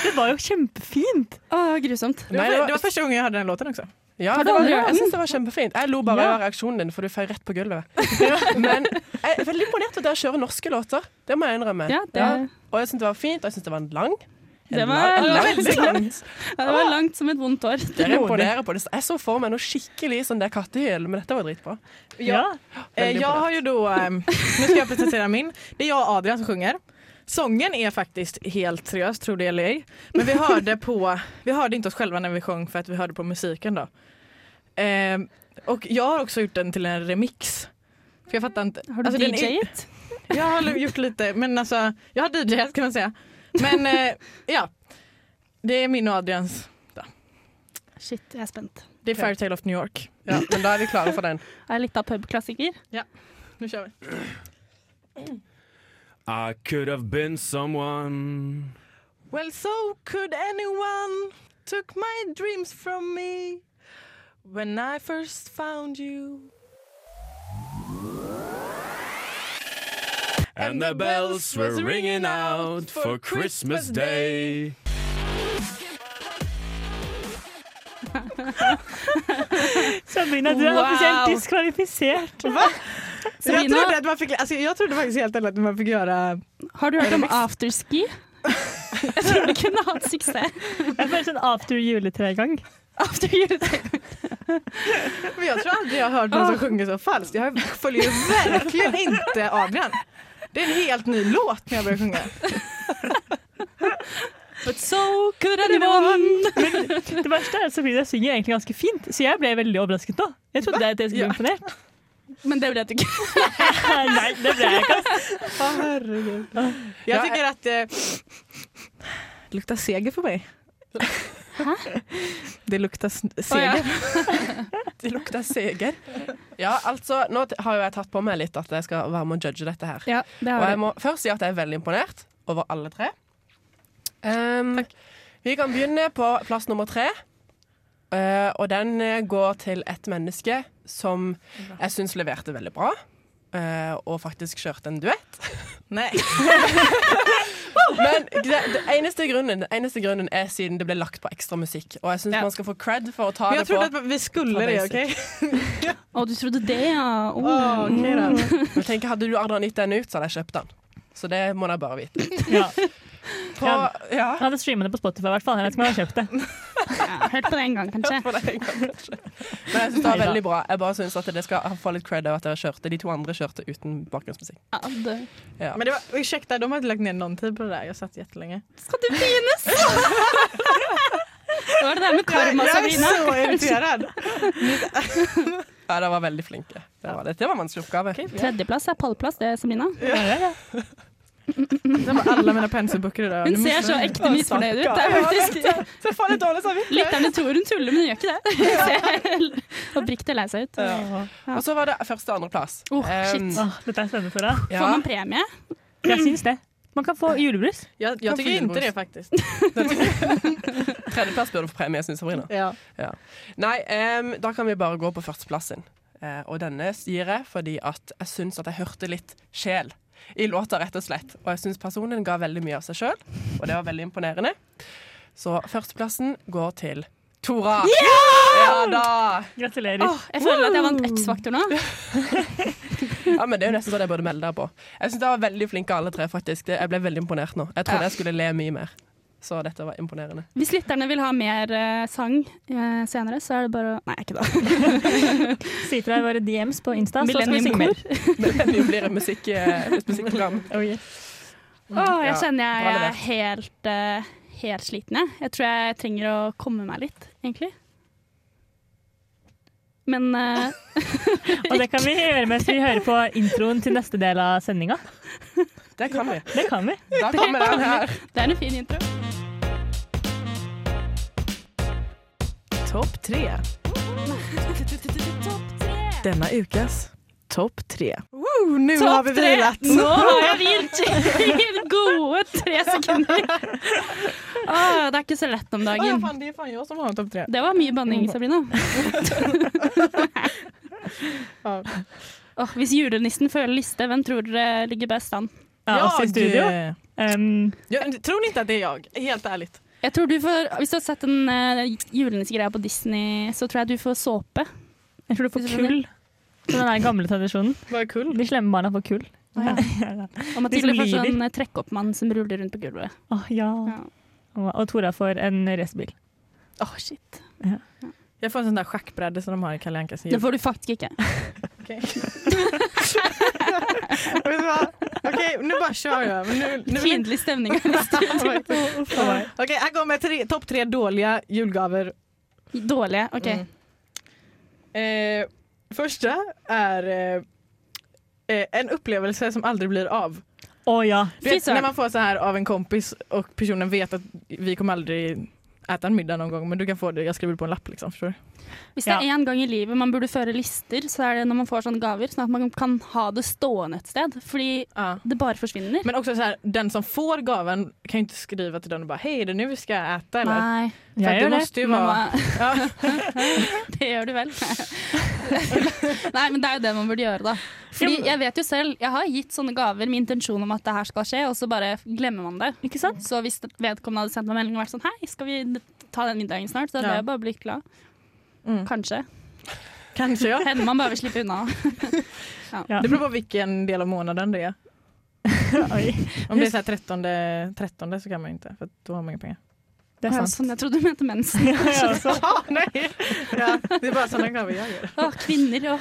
[SPEAKER 2] Det var jo kjempefint!
[SPEAKER 1] Å, grusomt.
[SPEAKER 3] Det var,
[SPEAKER 5] Nei, det var-
[SPEAKER 3] det var første gang jeg hørte den låten også.
[SPEAKER 5] Ja,
[SPEAKER 1] Har
[SPEAKER 5] det
[SPEAKER 1] du
[SPEAKER 5] var,
[SPEAKER 1] aldri hørt
[SPEAKER 5] jeg
[SPEAKER 1] den?
[SPEAKER 5] syns det var kjempefint. Jeg lo bare
[SPEAKER 2] Ja.
[SPEAKER 5] av reaksjonen din, for du føy rett på gulvet. [LAUGHS] Men jeg er veldig imponert over at dere kjører norske låter. Det må jeg innrømme.
[SPEAKER 1] Ja, det,
[SPEAKER 5] Ja. Og jeg syns det var fint, og jeg syns det var en lang. En
[SPEAKER 1] Det var
[SPEAKER 5] lang- en lang [LAUGHS]
[SPEAKER 1] langt.
[SPEAKER 5] sekvens.
[SPEAKER 1] Ja, det var langt som et vondt år.
[SPEAKER 5] Dere imponerer på det. Jeg så for meg noe skikkelig sånn der kattehyl, men dette var dritbra.
[SPEAKER 2] Ja.
[SPEAKER 3] Eh, jag har ju då, ehm, nu ska jag presentera min. Det är jag och Adrian som sjunger. Sången är faktiskt helt seriös, tror det eller ej. Men vi hörde, på, vi hörde inte oss själva när vi sjöng för att vi hörde på musiken då. Ehm, och jag har också gjort den till en remix. För jeg fattar inte.
[SPEAKER 1] Har du
[SPEAKER 3] Alltså, Altså, den är-
[SPEAKER 1] DJ-et?
[SPEAKER 3] Jag har gjort lite, men alltså, jag har DJat kan man säga. Men eh, ja, det är min och Adrians.
[SPEAKER 1] Shit, jeg er spent.
[SPEAKER 3] Det är Fairytale of New York.
[SPEAKER 5] Ja, men da er vi klare for den.
[SPEAKER 1] Er jeg litt av pubklassiker?
[SPEAKER 3] Nu kör vi.
[SPEAKER 7] I could have been someone.
[SPEAKER 3] Well, so could anyone took my dreams from me when I first found you.
[SPEAKER 7] And the bells were ringing out for Christmas Day.
[SPEAKER 2] Sabrina, du er
[SPEAKER 3] Wow.
[SPEAKER 2] offisielt diskvalifisert.
[SPEAKER 3] Jag
[SPEAKER 1] Sabina?
[SPEAKER 3] trodde, att man fick, alltså, jag trodde faktiskt helt ärligt att man fick göra...
[SPEAKER 1] Har du hørt om afterski? [LAUGHS] Jeg tror du kunne hatt suksess.
[SPEAKER 2] Jeg føler sånn after juletregang.
[SPEAKER 1] After jul.
[SPEAKER 3] Men jag tror aldrig jag har hört någon som sjunger så falskt. Jag följer ju verkligen inte Adrian. Det är en helt ny låt när jag börjar sjunga.
[SPEAKER 1] But so could anyone.
[SPEAKER 2] Det verste er at Sabrina synger egentlig ganske fint, så jeg ble veldig overrasket nå. Jeg trodde at jeg skulle bli imponert. Eh,
[SPEAKER 1] Men det ble det ikke.
[SPEAKER 2] Nei, det ble jeg ikke. ass.
[SPEAKER 3] Jag
[SPEAKER 5] Ja,
[SPEAKER 3] tycker att... Eh, luktar seger på
[SPEAKER 5] [LAUGHS]
[SPEAKER 3] mig. Det luktar s- seger.
[SPEAKER 5] [LAUGHS] Det lukter seger. Ja, altså, nå t- har jo jeg tatt på meg litt at jeg skal være med og judge dette her.
[SPEAKER 1] Ja, det
[SPEAKER 5] Og jeg
[SPEAKER 1] har du.
[SPEAKER 5] må først si at jeg er veldig imponert over alle tre. Ehm, vi kan begynne på plass nummer tre. Eh, og den eh, går til et menneske som jeg syns leverte veldig bra. eh, og faktisk kjørte en duett.
[SPEAKER 3] Nej.
[SPEAKER 5] Men det, det eneste grunnen, den eneste grunnen er siden det ble lagt på ekstra musikk. Og jeg syns
[SPEAKER 1] Ja.
[SPEAKER 5] man skal få cred for å ta
[SPEAKER 3] Men
[SPEAKER 5] det
[SPEAKER 3] jag
[SPEAKER 5] på.
[SPEAKER 3] trodde att vi skulle det, okej?
[SPEAKER 1] Å, du trodde det, ja. Oh. Å.
[SPEAKER 3] Åh, okej då.
[SPEAKER 5] Men tenk, hadde du aldri gitt den ut, så hadde jeg kjøpt den. Så det må dere bare vite.
[SPEAKER 2] Ja.
[SPEAKER 5] På, ja.
[SPEAKER 2] Jeg hadde streamet det på Spotify, i hvert fall. Jeg vet ikke om jeg hadde kjøpt det.
[SPEAKER 1] Ja, hørt på det en gang, kanskje.
[SPEAKER 5] for det en gang, kanskje. Men jeg syns det var veldig bra. Jeg bare synes at det skal få litt cred over at dere kjørte. De to andre kjørte uten bakgrunnsmusikk.
[SPEAKER 1] Ja, det.
[SPEAKER 5] Ja.
[SPEAKER 3] Men det var, ursäkta, de har inte lagt ner någon tid på det där. Jag satt jättelänge.
[SPEAKER 1] Skal du pines? Det var det der med karma, Sabrina.
[SPEAKER 3] så irriterad.
[SPEAKER 5] Ja, dere var veldig flinke. Det var, det. Det var en vanskelig oppgave.
[SPEAKER 1] Tredjeplass er pallplass, det, Sabrina.
[SPEAKER 3] [LAUGHS] Det var alla mina penselböcker idag.
[SPEAKER 1] Hun ser så ekte misfornøyd ut. Det er faktisk,
[SPEAKER 3] Så fan ett dårlig samvittighet.
[SPEAKER 1] lytterne tror hun tuller, men hun gjør ikke det. Hun ser oppriktig lei seg ut.
[SPEAKER 5] Og så var det første og andreplass.
[SPEAKER 1] Åh, shit.
[SPEAKER 2] Åh, dette er spennende for deg.
[SPEAKER 5] ja.
[SPEAKER 1] Får man premie?
[SPEAKER 2] Jeg syns det. Man kan få julebrus.
[SPEAKER 3] Jag,
[SPEAKER 5] Kan
[SPEAKER 3] jag
[SPEAKER 5] få
[SPEAKER 3] tycker inte
[SPEAKER 5] julbord.
[SPEAKER 3] det faktiskt.
[SPEAKER 5] Tredjeplass burde få premie, syns Sabrina.
[SPEAKER 3] [LAUGHS] Ja.
[SPEAKER 5] Nei, em, da kan vi bare gå på førsteplassen. Eh, og denne gir jeg fordi at jeg syns at jeg hørte litt sjel i låta, rett og slett. Og jeg syns personen ga veldig mye av seg sjøl, og det var veldig imponerende. Så førsteplassen går til Tora. Ja da!
[SPEAKER 2] Gratulerer.
[SPEAKER 1] Åh, jeg føler at jeg vant X-faktor nå.
[SPEAKER 5] Ja, men Det er jo nesten sånn jeg burde melde deg på. Jeg syns dere var veldig flinke alle tre, faktisk. Det- Jeg ble veldig imponert nå. Jeg trodde jeg skulle le mye mer. Så dette var imponerende. [LAUGHS]
[SPEAKER 1] Hvis lytterne vil ha mer eh, sang eh, senere, så er det bare å Nei, ikke da.
[SPEAKER 2] Si fra i våre DMs på Insta, så skal vi synge mer.
[SPEAKER 1] Millennium-kor.
[SPEAKER 5] Men det blir et musikk, eh, et musikkprogram. Mm.
[SPEAKER 2] Oh, yes. Mm.
[SPEAKER 1] Åh, jeg
[SPEAKER 5] Ja,
[SPEAKER 1] kjenner jeg,
[SPEAKER 5] bra
[SPEAKER 1] jeg er helt, eh, helt sliten, jeg. Jeg tror jeg trenger å komme meg litt, egentlig. Men eh,
[SPEAKER 2] Og det kan vi gjøre mens vi hører på introen til neste del av sendinga.
[SPEAKER 5] Det kan vi.
[SPEAKER 2] Det kan vi.
[SPEAKER 5] Da kommer den her.
[SPEAKER 1] det er en fin intro.
[SPEAKER 3] Topp tre. Denna ukas topp tre. Woo, nu har vi vilat.
[SPEAKER 1] Nå har jeg hvilt i [LAUGHS] gode tre
[SPEAKER 2] [LAUGHS]
[SPEAKER 1] sekunder. Åh, det er ikke så lett om
[SPEAKER 3] Åh, ja,
[SPEAKER 1] dagen.
[SPEAKER 3] fan, det är fan jag som har en topp tre.
[SPEAKER 1] Det var mye banning, Sabrina.
[SPEAKER 3] Ja.
[SPEAKER 1] Åh, hvis julenissen føler liste, hvem tror dere ligger best an?
[SPEAKER 2] Ja, oss i studio.
[SPEAKER 3] det-
[SPEAKER 2] Um,
[SPEAKER 3] Ja, tror ni inte att det är jag? Helt ärligt.
[SPEAKER 1] Jeg Jeg tror du får, Hvis du har sett den uh, julenissegreia på Disney, så tror jeg du får såpe.
[SPEAKER 2] Jeg tror du får kull. Den der gamle tradisjonen.
[SPEAKER 3] Hva er kull?
[SPEAKER 2] De slemme barna får kull.
[SPEAKER 1] Ja. Og
[SPEAKER 2] som
[SPEAKER 1] Mathilde
[SPEAKER 3] Liksom
[SPEAKER 1] får
[SPEAKER 2] lyver.
[SPEAKER 1] sånn eh, trekkoppmann som ruller rundt på gulvet.
[SPEAKER 2] Åh, ja. Og Tora får en racerbil.
[SPEAKER 1] Åh, shit.
[SPEAKER 3] Jeg får en sånn der sjakkbräde som de har i Kalle Ankas jul.
[SPEAKER 1] Det får du faktisk
[SPEAKER 3] [LAUGHS]
[SPEAKER 1] ikke.
[SPEAKER 3] Vet du hva? Okej, nu bara kör jag. Men Nu, nu vill [LAUGHS]
[SPEAKER 1] Fiendtlig stemning.
[SPEAKER 3] Okej, här kommer tre, topp tre dåliga julgaver.
[SPEAKER 1] Dårlige. OK.
[SPEAKER 3] Mm. Eh, första är eh, eh, en upplevelse som aldrig blir av.
[SPEAKER 2] Å ja.
[SPEAKER 3] Du
[SPEAKER 1] Fy
[SPEAKER 3] vet,
[SPEAKER 1] søren.
[SPEAKER 3] när man får så här av en kompis och personen vet att vi kommer aldrig äta en middag någon gång men du kan få det, jeg skriver på en lapp liksom. Förstår du?
[SPEAKER 1] Hvis det er én gang i livet man burde føre lister, så er det når man får sånne gaver, sånn at man kan ha det stående et sted. Fordi det bare forsvinner.
[SPEAKER 3] Men också så här, den som får gaven kan ju inte skriva till den och bara hej det är nu vi ska äta eller?
[SPEAKER 1] Nei,
[SPEAKER 3] För
[SPEAKER 2] Jeg
[SPEAKER 3] att det
[SPEAKER 2] gjør det.
[SPEAKER 3] måste ju vara...
[SPEAKER 1] mamma.
[SPEAKER 3] Ja.
[SPEAKER 1] [LAUGHS] Det gjør du vel. [LAUGHS] Nei, men det er jo det man burde gjøre, da. Fordi jeg vet jo selv, jeg har gitt sånne gaver med intensjon om at det her skal skje, og så bare glemmer man det.
[SPEAKER 2] Ikke sant?
[SPEAKER 1] Så hvis vedkommende hadde sendt meg melding og vært sånn Hei, skal vi ta den middagen snart? Så hadde
[SPEAKER 3] Ja.
[SPEAKER 1] jeg bare blitt glad.
[SPEAKER 3] Mm.
[SPEAKER 1] Kanskje.
[SPEAKER 3] Kanske ja.
[SPEAKER 1] Hender man bare vil slippe
[SPEAKER 2] [LAUGHS]
[SPEAKER 1] unna.
[SPEAKER 3] [LAUGHS] Det beror på vilken del av månaden det är.
[SPEAKER 2] [LAUGHS] Oi.
[SPEAKER 3] Om det är så här 13, 13 så kan man ju inte för att då har man inga pengar.
[SPEAKER 2] Det er
[SPEAKER 1] Ja,
[SPEAKER 2] sant.
[SPEAKER 1] Sånn, jeg trodde du mente mensen.
[SPEAKER 2] [LAUGHS] Jeg også.
[SPEAKER 3] Ja, [LAUGHS] nej. Ja, det är bara sådana gaver jag gör.
[SPEAKER 1] Å, kvinner og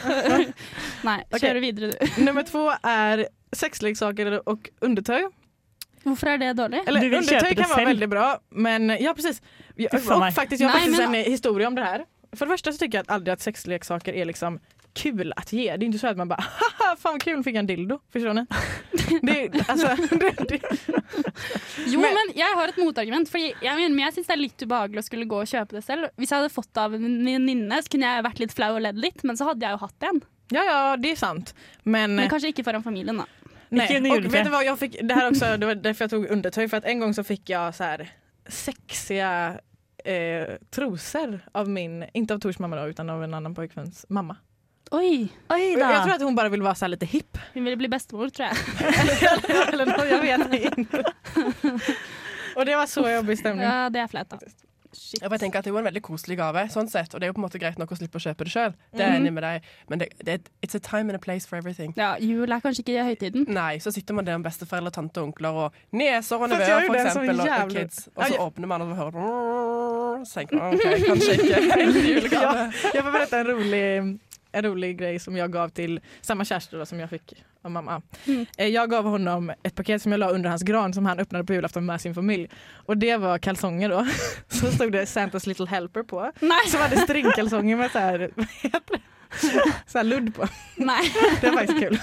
[SPEAKER 2] [LAUGHS]
[SPEAKER 1] Nei,
[SPEAKER 3] Ok.
[SPEAKER 1] kjøre videre, du.
[SPEAKER 3] Nummer två är sexleksaker och undertöj.
[SPEAKER 1] Hvorfor er det dårlig?
[SPEAKER 3] Eller
[SPEAKER 2] Du vill köpa
[SPEAKER 3] undertöj
[SPEAKER 2] det
[SPEAKER 3] kan vara
[SPEAKER 2] själv.
[SPEAKER 3] väldigt bra men ja precis. Jag,
[SPEAKER 2] Fy fan, nej.
[SPEAKER 3] och faktiskt, jag har
[SPEAKER 1] Nej,
[SPEAKER 3] faktiskt
[SPEAKER 1] men-
[SPEAKER 3] en historia om det här. För det första så tycker jag att aldrig att sexleksaker är liksom kul att ge. Det är inte så att man bara [LAUGHS] haha fan vad kul fick jag en dildo. Förstår
[SPEAKER 1] [LAUGHS]
[SPEAKER 3] ni? Det, är- alltså, [LAUGHS] det, det,
[SPEAKER 1] Jo, men, jeg har et motargument. Fordi jeg, mener, men jeg syns det er litt ubehagelig å skulle gå og kjøpe det selv. Hvis jeg hadde fått det av en venninne, så kunne jeg vært litt flau og ledd litt, men så hadde jeg jo hatt en.
[SPEAKER 3] ja ja det är sant. Men,
[SPEAKER 1] Men kanskje ikke foran familien, da.
[SPEAKER 2] Ikke under
[SPEAKER 3] Nej. Och
[SPEAKER 2] jultre.
[SPEAKER 3] vet du vad jag fick, det här också, det var därför jag tog undertöj för att en gång så fick jag så här sexiga eh, trosor av min, inte av Tors mamma då utan av en annan pojkväns mamma.
[SPEAKER 1] Oj.
[SPEAKER 2] Oi
[SPEAKER 3] Och
[SPEAKER 2] da.
[SPEAKER 3] Jag, jag tror att hon bara vill vara så här lite hipp. [LAUGHS]
[SPEAKER 1] Hun ville bli bestemor, tror jeg.
[SPEAKER 3] Eller något, jag vet inte.
[SPEAKER 2] [LAUGHS]
[SPEAKER 3] Och det var så jobbig stämning.
[SPEAKER 1] Ja, det er flaut, da. Shit.
[SPEAKER 5] Jeg bare tenker at Det er jo en veldig koselig gave, sånn sett, og det er jo på en måte greit nok å slippe å kjøpe det sjøl. Det er jeg enig med deg. Men det, det, it's a time and a place for everything.
[SPEAKER 1] Ja, jul er kanskje ikke høytiden.
[SPEAKER 5] Nei, så sitter man der med besteforeldre, tante og onkler og nieser og
[SPEAKER 3] Fast jeg
[SPEAKER 5] nevøer,
[SPEAKER 3] gjør
[SPEAKER 5] for
[SPEAKER 3] jo det som
[SPEAKER 5] eksempel, og, og
[SPEAKER 3] jævlig-
[SPEAKER 5] kids. Og så
[SPEAKER 3] Ja, jeg-
[SPEAKER 5] åpner man og hører Så tenker man OK, kanskje
[SPEAKER 3] [LAUGHS]
[SPEAKER 5] ikke en julegave.
[SPEAKER 3] Jag får berätta en rolig, en rolig grej som jag gav till samma kärste då, som jag fick av mamma.
[SPEAKER 1] Mm.
[SPEAKER 3] Eh, Jag gav honom ett paket som jag la under hans gran som han öppnade på julafton med sin familj. Och det var kalsonger då. [LAUGHS] Så stod det Santas little helper på.
[SPEAKER 1] Nei!
[SPEAKER 3] Som hade stringkalsonger med så här, [LAUGHS] vad heter det? Så här ludd på.
[SPEAKER 1] Nei.
[SPEAKER 3] Det var faktiskt kul.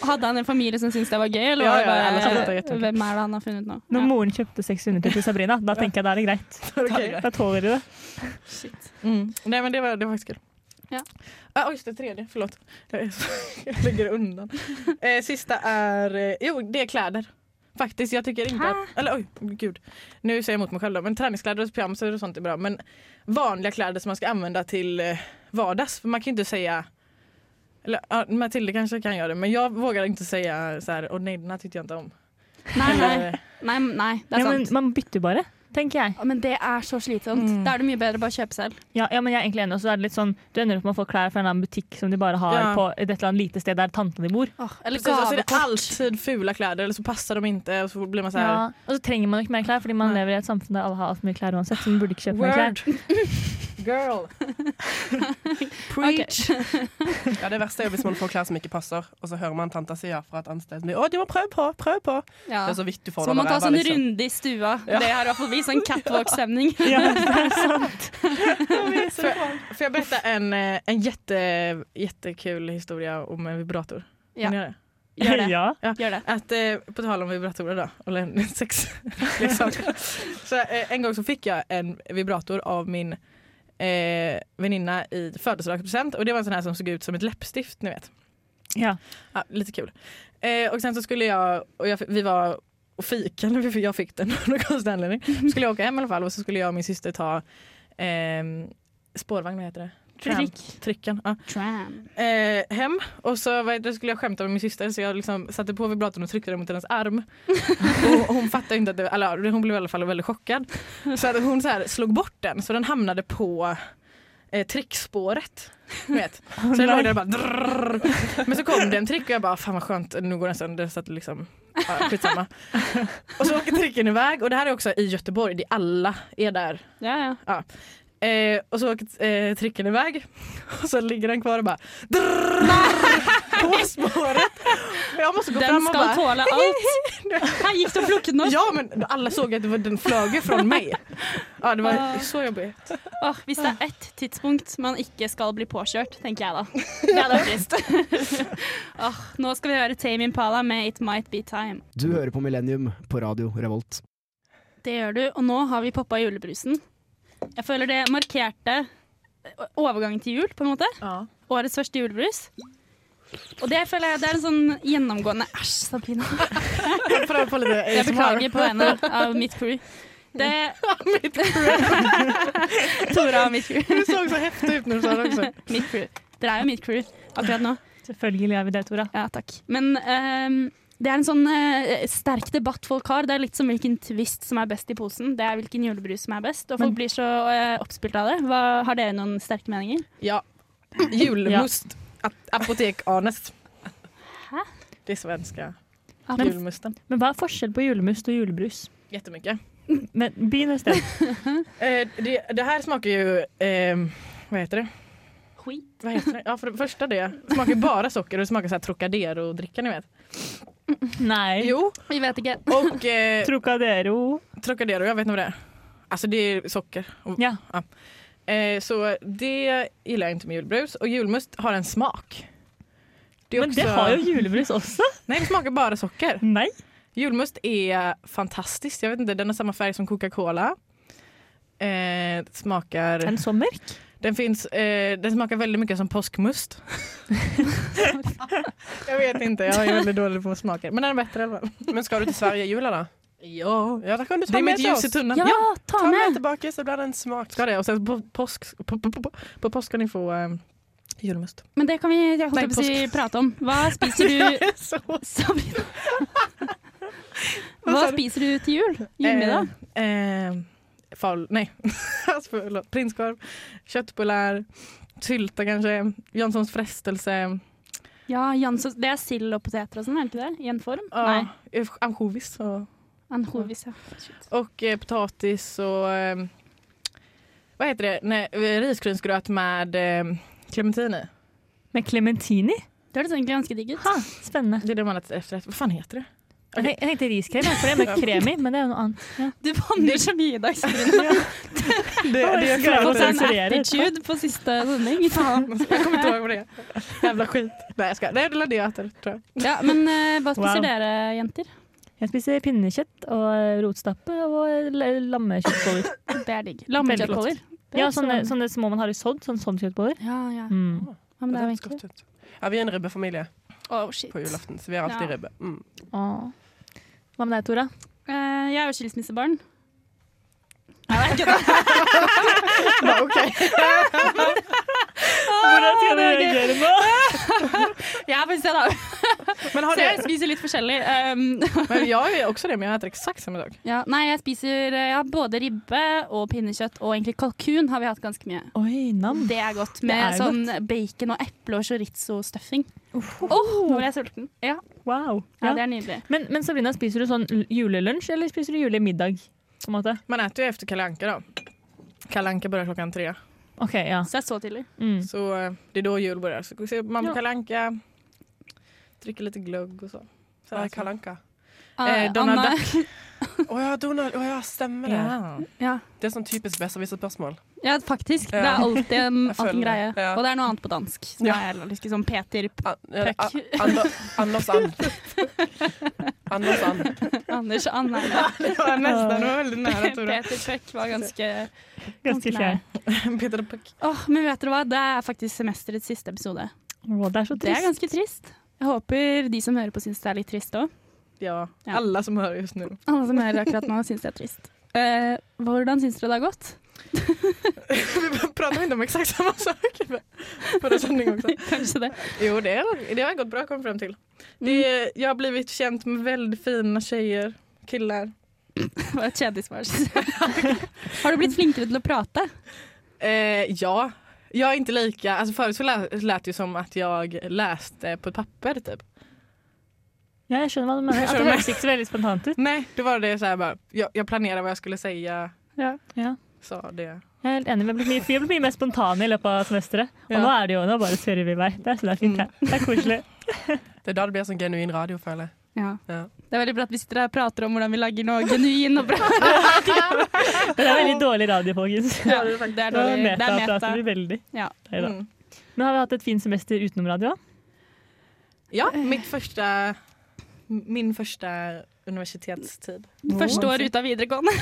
[SPEAKER 1] Hadde han en familie som syntes det var gøy, eller
[SPEAKER 3] Ja,
[SPEAKER 1] var
[SPEAKER 3] ja, alle
[SPEAKER 1] det
[SPEAKER 3] syntes det
[SPEAKER 1] bare
[SPEAKER 3] var kjempegøy.
[SPEAKER 1] Hvem er det han har funnet nå?
[SPEAKER 2] Når moren kjøpte 600 til Sabrina, da tenker jeg [LAUGHS] da er det greit.
[SPEAKER 3] Okej.
[SPEAKER 2] Da tåler de det.
[SPEAKER 3] Mm. Nej men det var, det var faktiskt kul.
[SPEAKER 1] Ja.
[SPEAKER 3] Ah, oj, det tredje, förlåt. Jag, är så- [LAUGHS] jag lägger undan. Eh, sista är, eh, jo det är kläder. Faktiskt, jag tycker inte att, eller oj, gud. Nu ser jag emot mig själv då, men träningskläder och pyjamasar och sånt är bra. Men vanliga kläder som man ska använda till eh, vardags, för man kan ju inte säga eller ja, Matilda kanske kan göra det, men jeg vågar inte säga så här, åh nej den här tyckte jag inte om. Eh,
[SPEAKER 1] Nei, nei.
[SPEAKER 3] Eller,
[SPEAKER 1] Nei, nei det er
[SPEAKER 2] Ja, men
[SPEAKER 1] sant.
[SPEAKER 2] man bytter bare, tenker jeg.
[SPEAKER 1] Å, Men det er så slitsomt.
[SPEAKER 3] Mm.
[SPEAKER 1] Da er det mye bedre å bare kjøpe selv.
[SPEAKER 2] Ja, ja, men jeg er egentlig enig. Og så er det litt sånn, du ender opp med å få klær fra en eller annen butikk som de bare har
[SPEAKER 3] Ja.
[SPEAKER 2] på et eller annet lite sted der tanten din bor.
[SPEAKER 1] Åh, eller
[SPEAKER 3] Precis, och så är det
[SPEAKER 1] gavekort.
[SPEAKER 3] alltid fula kläder eller så passar de inte och så blir man så här,
[SPEAKER 2] Ja. Og så trenger man jo ikke mer klær, fordi man
[SPEAKER 3] Nei.
[SPEAKER 2] lever i et samfunn der alle har altfor mye klær uansett. Så man burde ikke kjøpe mer
[SPEAKER 3] Word.
[SPEAKER 2] klær.
[SPEAKER 3] Girl.
[SPEAKER 1] Ok.
[SPEAKER 5] Ja, Det verste er jo hvis man får klær som ikke passer, og så hører man tanta si ja fra et annet sted. som blir, Å, de må prøve på! Prøv på!
[SPEAKER 1] Ja.
[SPEAKER 5] Det er så vidt du får
[SPEAKER 1] Så må
[SPEAKER 5] det
[SPEAKER 1] man ta
[SPEAKER 5] over ræva,
[SPEAKER 1] sånn
[SPEAKER 5] liksom.
[SPEAKER 1] runde i stua. Det har i hvert fall vi. Sånn catwalk-stemning.
[SPEAKER 2] [LAUGHS] Ja, det er sant.
[SPEAKER 3] Får jag- får jag berätta en, eh, en jätte, jättekul historia om en vibrator? Kan
[SPEAKER 1] Ja.
[SPEAKER 3] ni göra det?
[SPEAKER 1] Gjør det.
[SPEAKER 2] [LAUGHS] Ja.
[SPEAKER 1] Gjør det.
[SPEAKER 3] Att, eh, på tal om vibratorer då, eller [LAUGHS] sex liksom. så, eh, En gång så fick jag en vibrator av min eh, väninna i födelsedagspresent och det var en sån här som såg ut som ett läppstift ni vet.
[SPEAKER 2] Ja.
[SPEAKER 3] Ja, lite kul. Eh, och sen så skulle jag, och jag vi var och fika när vi- jag fick den av någon konstig anledning. Så skulle jag åka hem i alla fall och så skulle jag och min syster ta ehm, spårvagn, vad heter det?
[SPEAKER 1] Trick.
[SPEAKER 3] Tricken. Ja.
[SPEAKER 1] Tram.
[SPEAKER 3] Eh, hem och så vad heter det, skulle jag skämta med min syster så jag liksom satte på vibratorn och tryckte den mot hennes arm. och hon fattade inte att det, eller hon blev i alla fall väldigt chockad. Så att hon så här slog bort den så den hamnade på eh, trickspåret. Vet. Så jag låg där och bara drrrr. Men så kom det en trick och jag bara fan vad skönt nu går den sönder så att liksom ja, skitsamma. och så åker tricken iväg och det här är också i Göteborg, det alla är där
[SPEAKER 1] Ja, ja.
[SPEAKER 3] Eh, och så åker eh, tricken [LAUGHS] iväg och så ligger den kvar och bara drrrr, [LAUGHS] på spåret. Och Jag måste gå
[SPEAKER 1] Den
[SPEAKER 3] fram och
[SPEAKER 1] skal
[SPEAKER 3] bara...
[SPEAKER 1] tåle alt. Her gikk det og plukket den opp.
[SPEAKER 3] Ja men alla såg att det var, den flög ju från mig. Ja det var
[SPEAKER 1] Ah.
[SPEAKER 3] så jobbigt.
[SPEAKER 1] Åh, hvis det er ett tidspunkt man ikke skal bli påkjørt, tenker jeg da. Det hadde vært trist. [LAUGHS] Åh, nå skal vi høre Tame Impala med It Might Be Time.
[SPEAKER 8] Du hører på Millennium på Radio Revolt.
[SPEAKER 1] Det gjør du, og nå har vi poppa julebrusen. Jeg føler det markerte overgangen til jul, på en måte.
[SPEAKER 3] Ja.
[SPEAKER 1] Årets første julebrus. Og det føler jeg det er en sånn gjennomgående Æsj, Sabrina.
[SPEAKER 3] Jag prövar på lite
[SPEAKER 1] Jeg
[SPEAKER 3] ASMR. [LAUGHS]
[SPEAKER 1] beklager på vegne av mitt crew. Det
[SPEAKER 3] Mitt
[SPEAKER 1] [LAUGHS] Tora og mitt crew.
[SPEAKER 3] Du såg så häftig ut när du sa det också.
[SPEAKER 1] [LAUGHS] Mitt crew. Dere er jo mitt crew akkurat nå.
[SPEAKER 2] Selvfølgelig er vi det, Tora.
[SPEAKER 1] Ja, takk. Men ehm, det er en sånn eh, sterk debatt folk har. Det er litt som hvilken twist som er best i posen. Det er hvilken julebrus som er best, og folk
[SPEAKER 2] Men-
[SPEAKER 1] blir så eh, oppspilt av det. Hva, har dere noen sterke meninger?
[SPEAKER 3] Ja. Julmust. Ap- Apotek Arnes.
[SPEAKER 1] Hæ?
[SPEAKER 3] Det är svenska
[SPEAKER 1] Men-
[SPEAKER 3] julmusten.
[SPEAKER 2] Men hva er forskjell på julemust og julebrus?
[SPEAKER 3] Jättemycket.
[SPEAKER 2] Men Begynn et sted.
[SPEAKER 3] Eh, det, det här smakar ju... ehm, vad heter det?
[SPEAKER 1] Skit.
[SPEAKER 3] Vad heter det? Ja, för det första det. Smakar ju bara socker och det smakar så här Trocadero-dricka ni vet.
[SPEAKER 2] [LAUGHS] Nei.
[SPEAKER 3] Jo,
[SPEAKER 1] Vi vet [LAUGHS] ikke.
[SPEAKER 3] och eh,
[SPEAKER 2] Trocadero.
[SPEAKER 3] Trocadero, jag vet inte vad det Altså, är. Alltså det är socker. Och,
[SPEAKER 2] Ja.
[SPEAKER 3] eh, så det gillar jag inte med julbrus. Och julmust har en smak. är
[SPEAKER 2] Men det
[SPEAKER 3] också-
[SPEAKER 2] har jo julebrus også.
[SPEAKER 3] Nej, det smakar bara socker.
[SPEAKER 2] Nei.
[SPEAKER 3] Julmust är fantastiskt. Jag vet inte, den har samma färg som Coca-Cola. Eh,
[SPEAKER 2] Er
[SPEAKER 3] smakar,
[SPEAKER 2] den så mørk?
[SPEAKER 3] den, finns, eh, den smakar väldigt mycket som påskmust. jag vet inte, jag är väldigt dålig på smaker. Men den är bättre i alla fall.
[SPEAKER 5] Men skal du til Sverige i jula, da?
[SPEAKER 3] Ja.
[SPEAKER 5] Ja, da kan du
[SPEAKER 3] Det
[SPEAKER 5] ta
[SPEAKER 3] är
[SPEAKER 5] med
[SPEAKER 3] mitt
[SPEAKER 5] til oss.
[SPEAKER 3] ljus i tunneln.
[SPEAKER 1] Ja, ta
[SPEAKER 5] Ta med
[SPEAKER 1] med!
[SPEAKER 5] tilbake, så blir det en smak.
[SPEAKER 3] Ska det. Och sen på påsk, på, på, på, på påsk ska ni få eh, julmust.
[SPEAKER 1] Men det kan vi jeg holdt
[SPEAKER 3] Nei,
[SPEAKER 1] på å si, prate om. Hva spiser [LAUGHS] du
[SPEAKER 3] [LAUGHS] Så
[SPEAKER 1] Sabrina? Hva spiser du til jul? Julemiddag?
[SPEAKER 3] Eh, eh, fal, [LAUGHS] nej, Alltså, förlåt. prinskorv, köttbullar, sylta kanske, Janssons frestelse,
[SPEAKER 1] Ja, Jansson, det er sild og poteter og sånn, er det ikke det? I en form?
[SPEAKER 3] ja,
[SPEAKER 1] Nei.
[SPEAKER 3] eh, ansjovis och,
[SPEAKER 1] Anjovis, ja.
[SPEAKER 3] och eh, potatis och eh, vad heter det, nej, eh, risgrynsgröt med eh, clementin i.
[SPEAKER 2] Med clementini?
[SPEAKER 1] Det høres egentlig ganske digg ut.
[SPEAKER 2] Ha, spennende.
[SPEAKER 3] Det är det man äter efter. Vad fan heter det?
[SPEAKER 2] Jeg tenk- Jeg tenkte riskrem, jeg, for det er med krem i, men det er jo noe annet.
[SPEAKER 1] [LAUGHS] Du banner så mye i dag, Sabrina.
[SPEAKER 3] [LAUGHS] det,
[SPEAKER 2] jag
[SPEAKER 3] jag,
[SPEAKER 2] glömde.
[SPEAKER 1] Og så
[SPEAKER 3] kommer
[SPEAKER 1] en
[SPEAKER 2] sensurere.
[SPEAKER 1] attitude på siste sending. Faen.
[SPEAKER 3] inte ihåg vad [LAUGHS] det är. Jävla skit. Nej jag skojar. Nej, det är det jag äter tror jag.
[SPEAKER 1] Ja, men eh, hva spiser
[SPEAKER 2] Wow.
[SPEAKER 1] dere, jenter?
[SPEAKER 2] Jeg spiser pinnekjøtt og rotstappe og l- lammekjøttboller.
[SPEAKER 1] Det er digg.
[SPEAKER 2] Veldig
[SPEAKER 1] Lammekjøttboller. Det er
[SPEAKER 2] Ja,
[SPEAKER 1] ikke så
[SPEAKER 2] sånne,
[SPEAKER 1] vanlig.
[SPEAKER 2] sånne små man har i sodd, sånn soddkjøttboller.
[SPEAKER 1] Ja, ja.
[SPEAKER 2] Mm.
[SPEAKER 1] ja men det er jo
[SPEAKER 5] høres
[SPEAKER 1] egentlig
[SPEAKER 5] godt ut. Ja, vi er en ribbefamilie
[SPEAKER 1] Oh, shit.
[SPEAKER 5] på julaften, så vi har alltid
[SPEAKER 1] Ja.
[SPEAKER 5] ribbe. Mm.
[SPEAKER 2] Åh. Hva med deg, Tora?
[SPEAKER 1] Eh, jeg er jo skilsmissebarn. Nei, det er ikke [LAUGHS] det.
[SPEAKER 2] Hvordan skal du reagere nå?
[SPEAKER 1] [LAUGHS] Jeg er på stedet av.
[SPEAKER 3] Men,
[SPEAKER 1] Så
[SPEAKER 3] har
[SPEAKER 1] jeg
[SPEAKER 3] du,
[SPEAKER 1] spiser litt forskjellig. Um,
[SPEAKER 3] men jeg gjør også det, men jeg heter exakt samme dag.
[SPEAKER 1] ja, nei, jeg spiser eh, ja, både ribbe og pinnekjøtt, og egentlig kalkun har vi hatt ganske mye.
[SPEAKER 2] Oi, nam.
[SPEAKER 1] Det er godt.
[SPEAKER 2] Mm. Det
[SPEAKER 1] Med
[SPEAKER 2] er
[SPEAKER 1] sånn bacon og eple og chorizo-stuffing. Åh, nå ble jeg sulten. Ja,
[SPEAKER 2] Wow.
[SPEAKER 1] ja,
[SPEAKER 2] Ja.
[SPEAKER 1] det er nydelig.
[SPEAKER 2] Men, men Sabrina, spiser du sånn l- julelunsj, eller spiser du julemiddag? På en måte?
[SPEAKER 3] Man äter ju efter Kalle Anka då. Kalle Anka börjar klockan tre.
[SPEAKER 2] Ok, ja.
[SPEAKER 1] Så det er så tidlig.
[SPEAKER 2] Mm.
[SPEAKER 3] Så eh, det är då jul börjar. Så går- ser man på
[SPEAKER 2] Ja.
[SPEAKER 3] Kalle Anka, dricker lite glögg och sånn. så. Sen
[SPEAKER 5] Hva er
[SPEAKER 3] äter man.
[SPEAKER 5] kalanka?
[SPEAKER 3] Eh, Donald
[SPEAKER 1] Anna-
[SPEAKER 5] Å ja, Donald. Å ja, stemmer det.
[SPEAKER 3] Ja.
[SPEAKER 1] [LAUGHS] Ja.
[SPEAKER 5] Det er sånn typisk besserwisser-spørsmål.
[SPEAKER 1] Ja, faktisk. Det
[SPEAKER 5] Ja.
[SPEAKER 1] er alltid en,
[SPEAKER 5] Jeg
[SPEAKER 1] alltid en
[SPEAKER 5] føler
[SPEAKER 1] greie.
[SPEAKER 5] det, ja.
[SPEAKER 1] Og det er noe annet på dansk. Så
[SPEAKER 5] Ja.
[SPEAKER 1] det er liksom sånn Peter P-
[SPEAKER 5] An- ja,
[SPEAKER 1] Prekk.
[SPEAKER 5] A- Ander- Anders And. Anders And.
[SPEAKER 1] Anders Anne.
[SPEAKER 3] Det var nästan, det var väldigt nära Tora.
[SPEAKER 1] Peter Pøkk var ganske
[SPEAKER 2] Ganske kjær.
[SPEAKER 3] [LAUGHS] Peter och Puck.
[SPEAKER 1] Åh, Men vet dere hva, det er faktisk semesterets siste episode.
[SPEAKER 2] Åh, det er så
[SPEAKER 1] Det er
[SPEAKER 2] trist.
[SPEAKER 1] ganske trist. Jeg håper de som hører på, syns det er litt trist òg.
[SPEAKER 3] Ja,
[SPEAKER 1] Ja.
[SPEAKER 3] alla som hör just nu.
[SPEAKER 1] Alle som hører akkurat nå, syns det er trist. Eh, hvordan syns dere det har gått?
[SPEAKER 3] [LAUGHS] Vi pratar inte om exakt samma sak förra sändningen också.
[SPEAKER 1] [LAUGHS] Kanskje det.
[SPEAKER 3] Jo, det, är- det har gått bra kom fram till. Det, är- Jag eh, har blivit känt med väldigt fina tjejer, killar.
[SPEAKER 1] Det var et kjedisvar. [LAUGHS] Har du blitt flinkere til å prate?
[SPEAKER 3] Eh, ja, jag är inte lika... Alltså förut så lät, lät det ju som att jag läste på ett papper typ.
[SPEAKER 2] Ja, jeg skjønner hva du mener. At det høres ikke så veldig spontant ut.
[SPEAKER 3] Nej, då var det så här bara, jag, jag planerade vad jag skulle säga.
[SPEAKER 2] Ja.
[SPEAKER 3] Sa det.
[SPEAKER 2] Jeg er helt enig, men vi blir, vi blir mer spontane i løpet av semesteret. Og
[SPEAKER 3] Ja.
[SPEAKER 2] nå er det jo, nå bare surrer vi i vei. Det er, så det er fint, det. det er koselig.
[SPEAKER 5] Det er da det blir sånn genuin radio, føler jeg.
[SPEAKER 1] Ja.
[SPEAKER 5] Ja.
[SPEAKER 1] Det er veldig bra at vi sitter her og prater om hvordan vi lager noe genuin og bra.
[SPEAKER 2] Det er veldig dårlig radio, folkens.
[SPEAKER 1] Ja, det er
[SPEAKER 2] Nå
[SPEAKER 1] dårlig. Det er meta.
[SPEAKER 2] metaprater vi veldig.
[SPEAKER 1] Ja.
[SPEAKER 2] Neida.
[SPEAKER 3] Mm.
[SPEAKER 2] Men har vi hatt et fint semester utenom radio?
[SPEAKER 3] Ja, mitt första, min första universitetstid.
[SPEAKER 1] Første år ute av videregående.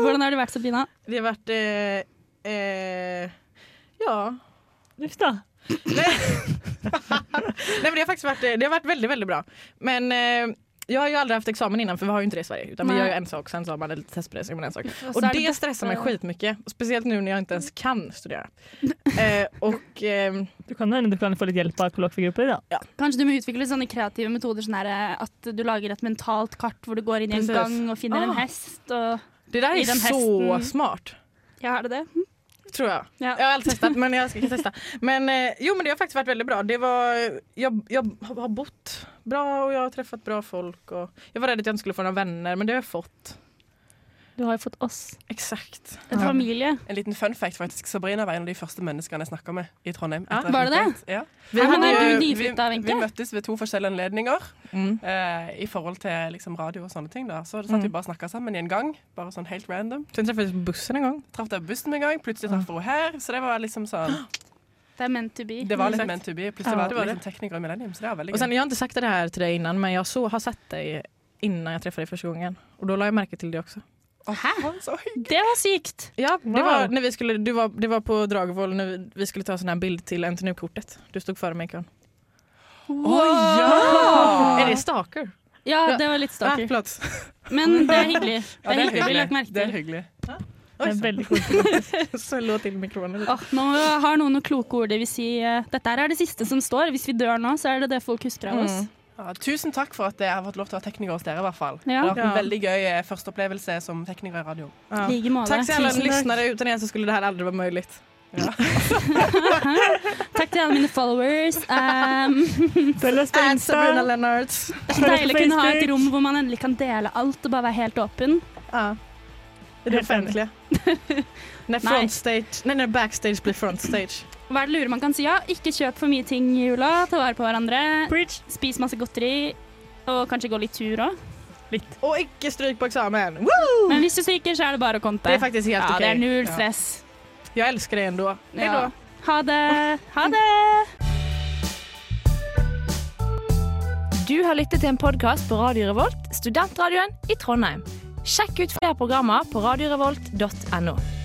[SPEAKER 1] Hvordan har det vært, Sabina?
[SPEAKER 3] Det har varit... Eh, eh, ja.
[SPEAKER 2] Uff da.
[SPEAKER 3] Nej, men det har faktiskt varit, det har varit väldigt, väldigt bra. Men eh, jag har ju aldrig haft examen innan för vi har ju inte det i Sverige. Utan
[SPEAKER 1] Nej.
[SPEAKER 3] vi gör ju en sak sen så har man lite testpress och en sak.
[SPEAKER 1] Og
[SPEAKER 3] Och
[SPEAKER 1] så er
[SPEAKER 3] det stressar mig skitmycket. Speciellt nu när jag inte ens kan
[SPEAKER 1] [LAUGHS]
[SPEAKER 3] studera. eh, och eh,
[SPEAKER 2] Du kan hende du kan få litt hjelp av kollokviegrupper. da.
[SPEAKER 1] Kanskje du må utvikle sånne kreative metoder, sånn her, eh, at du lager et mentalt kart hvor du går inn i en
[SPEAKER 3] Precis.
[SPEAKER 1] gang og finner en
[SPEAKER 3] Ah.
[SPEAKER 1] hest. Og,
[SPEAKER 3] det där
[SPEAKER 1] I
[SPEAKER 3] är
[SPEAKER 1] den
[SPEAKER 3] så
[SPEAKER 1] hästen.
[SPEAKER 3] smart.
[SPEAKER 1] ja, er det det?
[SPEAKER 3] Tror jag.
[SPEAKER 1] Ja.
[SPEAKER 3] Jag har aldrig testat men jag ska testa. Men eh, jo men det har faktiskt varit väldigt bra. Det var, jag, jag har bott bra och jag har träffat bra folk. Och jag var rädd att jag inte skulle få några vänner men det har jag fått.
[SPEAKER 2] Du har jo fått oss.
[SPEAKER 3] Exakt.
[SPEAKER 1] En familie.
[SPEAKER 5] En liten fun fact, faktisk. Sabrina var en av de første menneskene jeg snakka med i Trondheim.
[SPEAKER 3] Ja,
[SPEAKER 5] etter
[SPEAKER 1] var det
[SPEAKER 5] jeg flyttet. Ja. Eh,
[SPEAKER 3] Vi
[SPEAKER 1] Nei, men
[SPEAKER 3] hade
[SPEAKER 1] er
[SPEAKER 3] ju-
[SPEAKER 1] du
[SPEAKER 5] Vi,
[SPEAKER 1] nyflytta,
[SPEAKER 5] vi
[SPEAKER 1] Wenche?
[SPEAKER 5] møttes ved to forskjellige anledninger
[SPEAKER 3] Mm.
[SPEAKER 5] eh, i forhold til liksom, radio og sånne ting. Da. Så
[SPEAKER 1] Mm.
[SPEAKER 5] satt vi bare og snakka sammen i en gang. Bare sånn helt random.
[SPEAKER 3] Sen träffades vi på bussen en gång.
[SPEAKER 5] Traff deg på bussen med en gang, plutselig
[SPEAKER 1] Mm.
[SPEAKER 5] traff hun her. Så det var liksom
[SPEAKER 1] [GASPS]
[SPEAKER 5] sånn
[SPEAKER 1] Det er meant to be.
[SPEAKER 5] Det var litt
[SPEAKER 3] Exakt.
[SPEAKER 5] meant to be. Plutselig
[SPEAKER 3] Ja, det
[SPEAKER 5] var det
[SPEAKER 3] var det.
[SPEAKER 5] liksom tekniker i Millennium, så det var veldig
[SPEAKER 3] Och sen,
[SPEAKER 5] gøy.
[SPEAKER 3] jag har inte sagt det här till dig innan men jag så, har sett dig innan jag träffade dig första gången. Och då la jag mærke til det också.
[SPEAKER 1] Hæ?
[SPEAKER 5] Så hyggelig.
[SPEAKER 1] Det var sykt!
[SPEAKER 3] Ja, det,
[SPEAKER 2] Wow.
[SPEAKER 3] var, när vi skulle, du var, det var på Dragvoll när vi, vi skulle ta sån här bild till NTNU-kortet. Du stod före mig i kön. Är det stalker?
[SPEAKER 1] Ja, det var litt
[SPEAKER 3] Ah,
[SPEAKER 1] stalker.
[SPEAKER 3] förlåt.
[SPEAKER 1] Men det er hyggelig.
[SPEAKER 5] Ja,
[SPEAKER 1] Det er hyggelig. Vi lagt merke
[SPEAKER 5] Det er
[SPEAKER 1] til.
[SPEAKER 5] hyggelig.
[SPEAKER 2] Det er veldig
[SPEAKER 3] [LAUGHS]
[SPEAKER 2] koselig.
[SPEAKER 3] Så låt till mikrofonen lite.
[SPEAKER 1] Åh, nå har noen noen kloke ord. Det vil si, eh, dette her er det siste som står. Hvis vi dør nå, så er det det folk husker av oss.
[SPEAKER 3] Mm.
[SPEAKER 5] Ja, tusen takk for at jeg har fått lov til å være tekniker hos dere, i hvert fall.
[SPEAKER 1] Ja.
[SPEAKER 5] Det har vært en
[SPEAKER 3] Ja.
[SPEAKER 5] veldig gøy eh, første opplevelse som tekniker i radio.
[SPEAKER 1] I
[SPEAKER 3] Ja.
[SPEAKER 1] like måte.
[SPEAKER 3] Tack till alla
[SPEAKER 1] Tusen takk.
[SPEAKER 3] lyssnare, utan er så skulle det här aldrig vara möjligt.
[SPEAKER 1] Takk til alle mine followers. Um,
[SPEAKER 2] Følg oss på
[SPEAKER 3] [LAUGHS] At
[SPEAKER 2] Insta.
[SPEAKER 3] Sabrina Lennarts.
[SPEAKER 1] det er så
[SPEAKER 2] Følg oss
[SPEAKER 1] deilig
[SPEAKER 2] på
[SPEAKER 1] å kunne ha et
[SPEAKER 2] Facebook.
[SPEAKER 1] rom hvor man endelig kan dele alt og bare være helt åpen.
[SPEAKER 3] Ja. I det
[SPEAKER 2] Helt
[SPEAKER 3] offentliga. när
[SPEAKER 1] Nej.
[SPEAKER 3] frontstage, nej när backstage blir frontstage.
[SPEAKER 1] Hva er det lure man kan si? Ja, ikke kjøp for mye ting i jula. Ta vare på hverandre.
[SPEAKER 2] Preach.
[SPEAKER 1] Spis masse godteri. Og kanskje gå litt tur òg.
[SPEAKER 2] Litt.
[SPEAKER 3] Och icke stryk på examen! Woo!
[SPEAKER 1] Men hvis du stryker, så er det bare å konte.
[SPEAKER 3] Det är faktiskt helt
[SPEAKER 1] ja, det
[SPEAKER 3] okej.
[SPEAKER 1] er null stress.
[SPEAKER 3] Jag älskar dig ändå. Hej då!
[SPEAKER 1] Ja. Ha det. Ha det.
[SPEAKER 9] Du har lyttet til en podkast på Radio Revolt, studentradioen i Trondheim. Sjekk ut flere programmer på radiorevolt.no.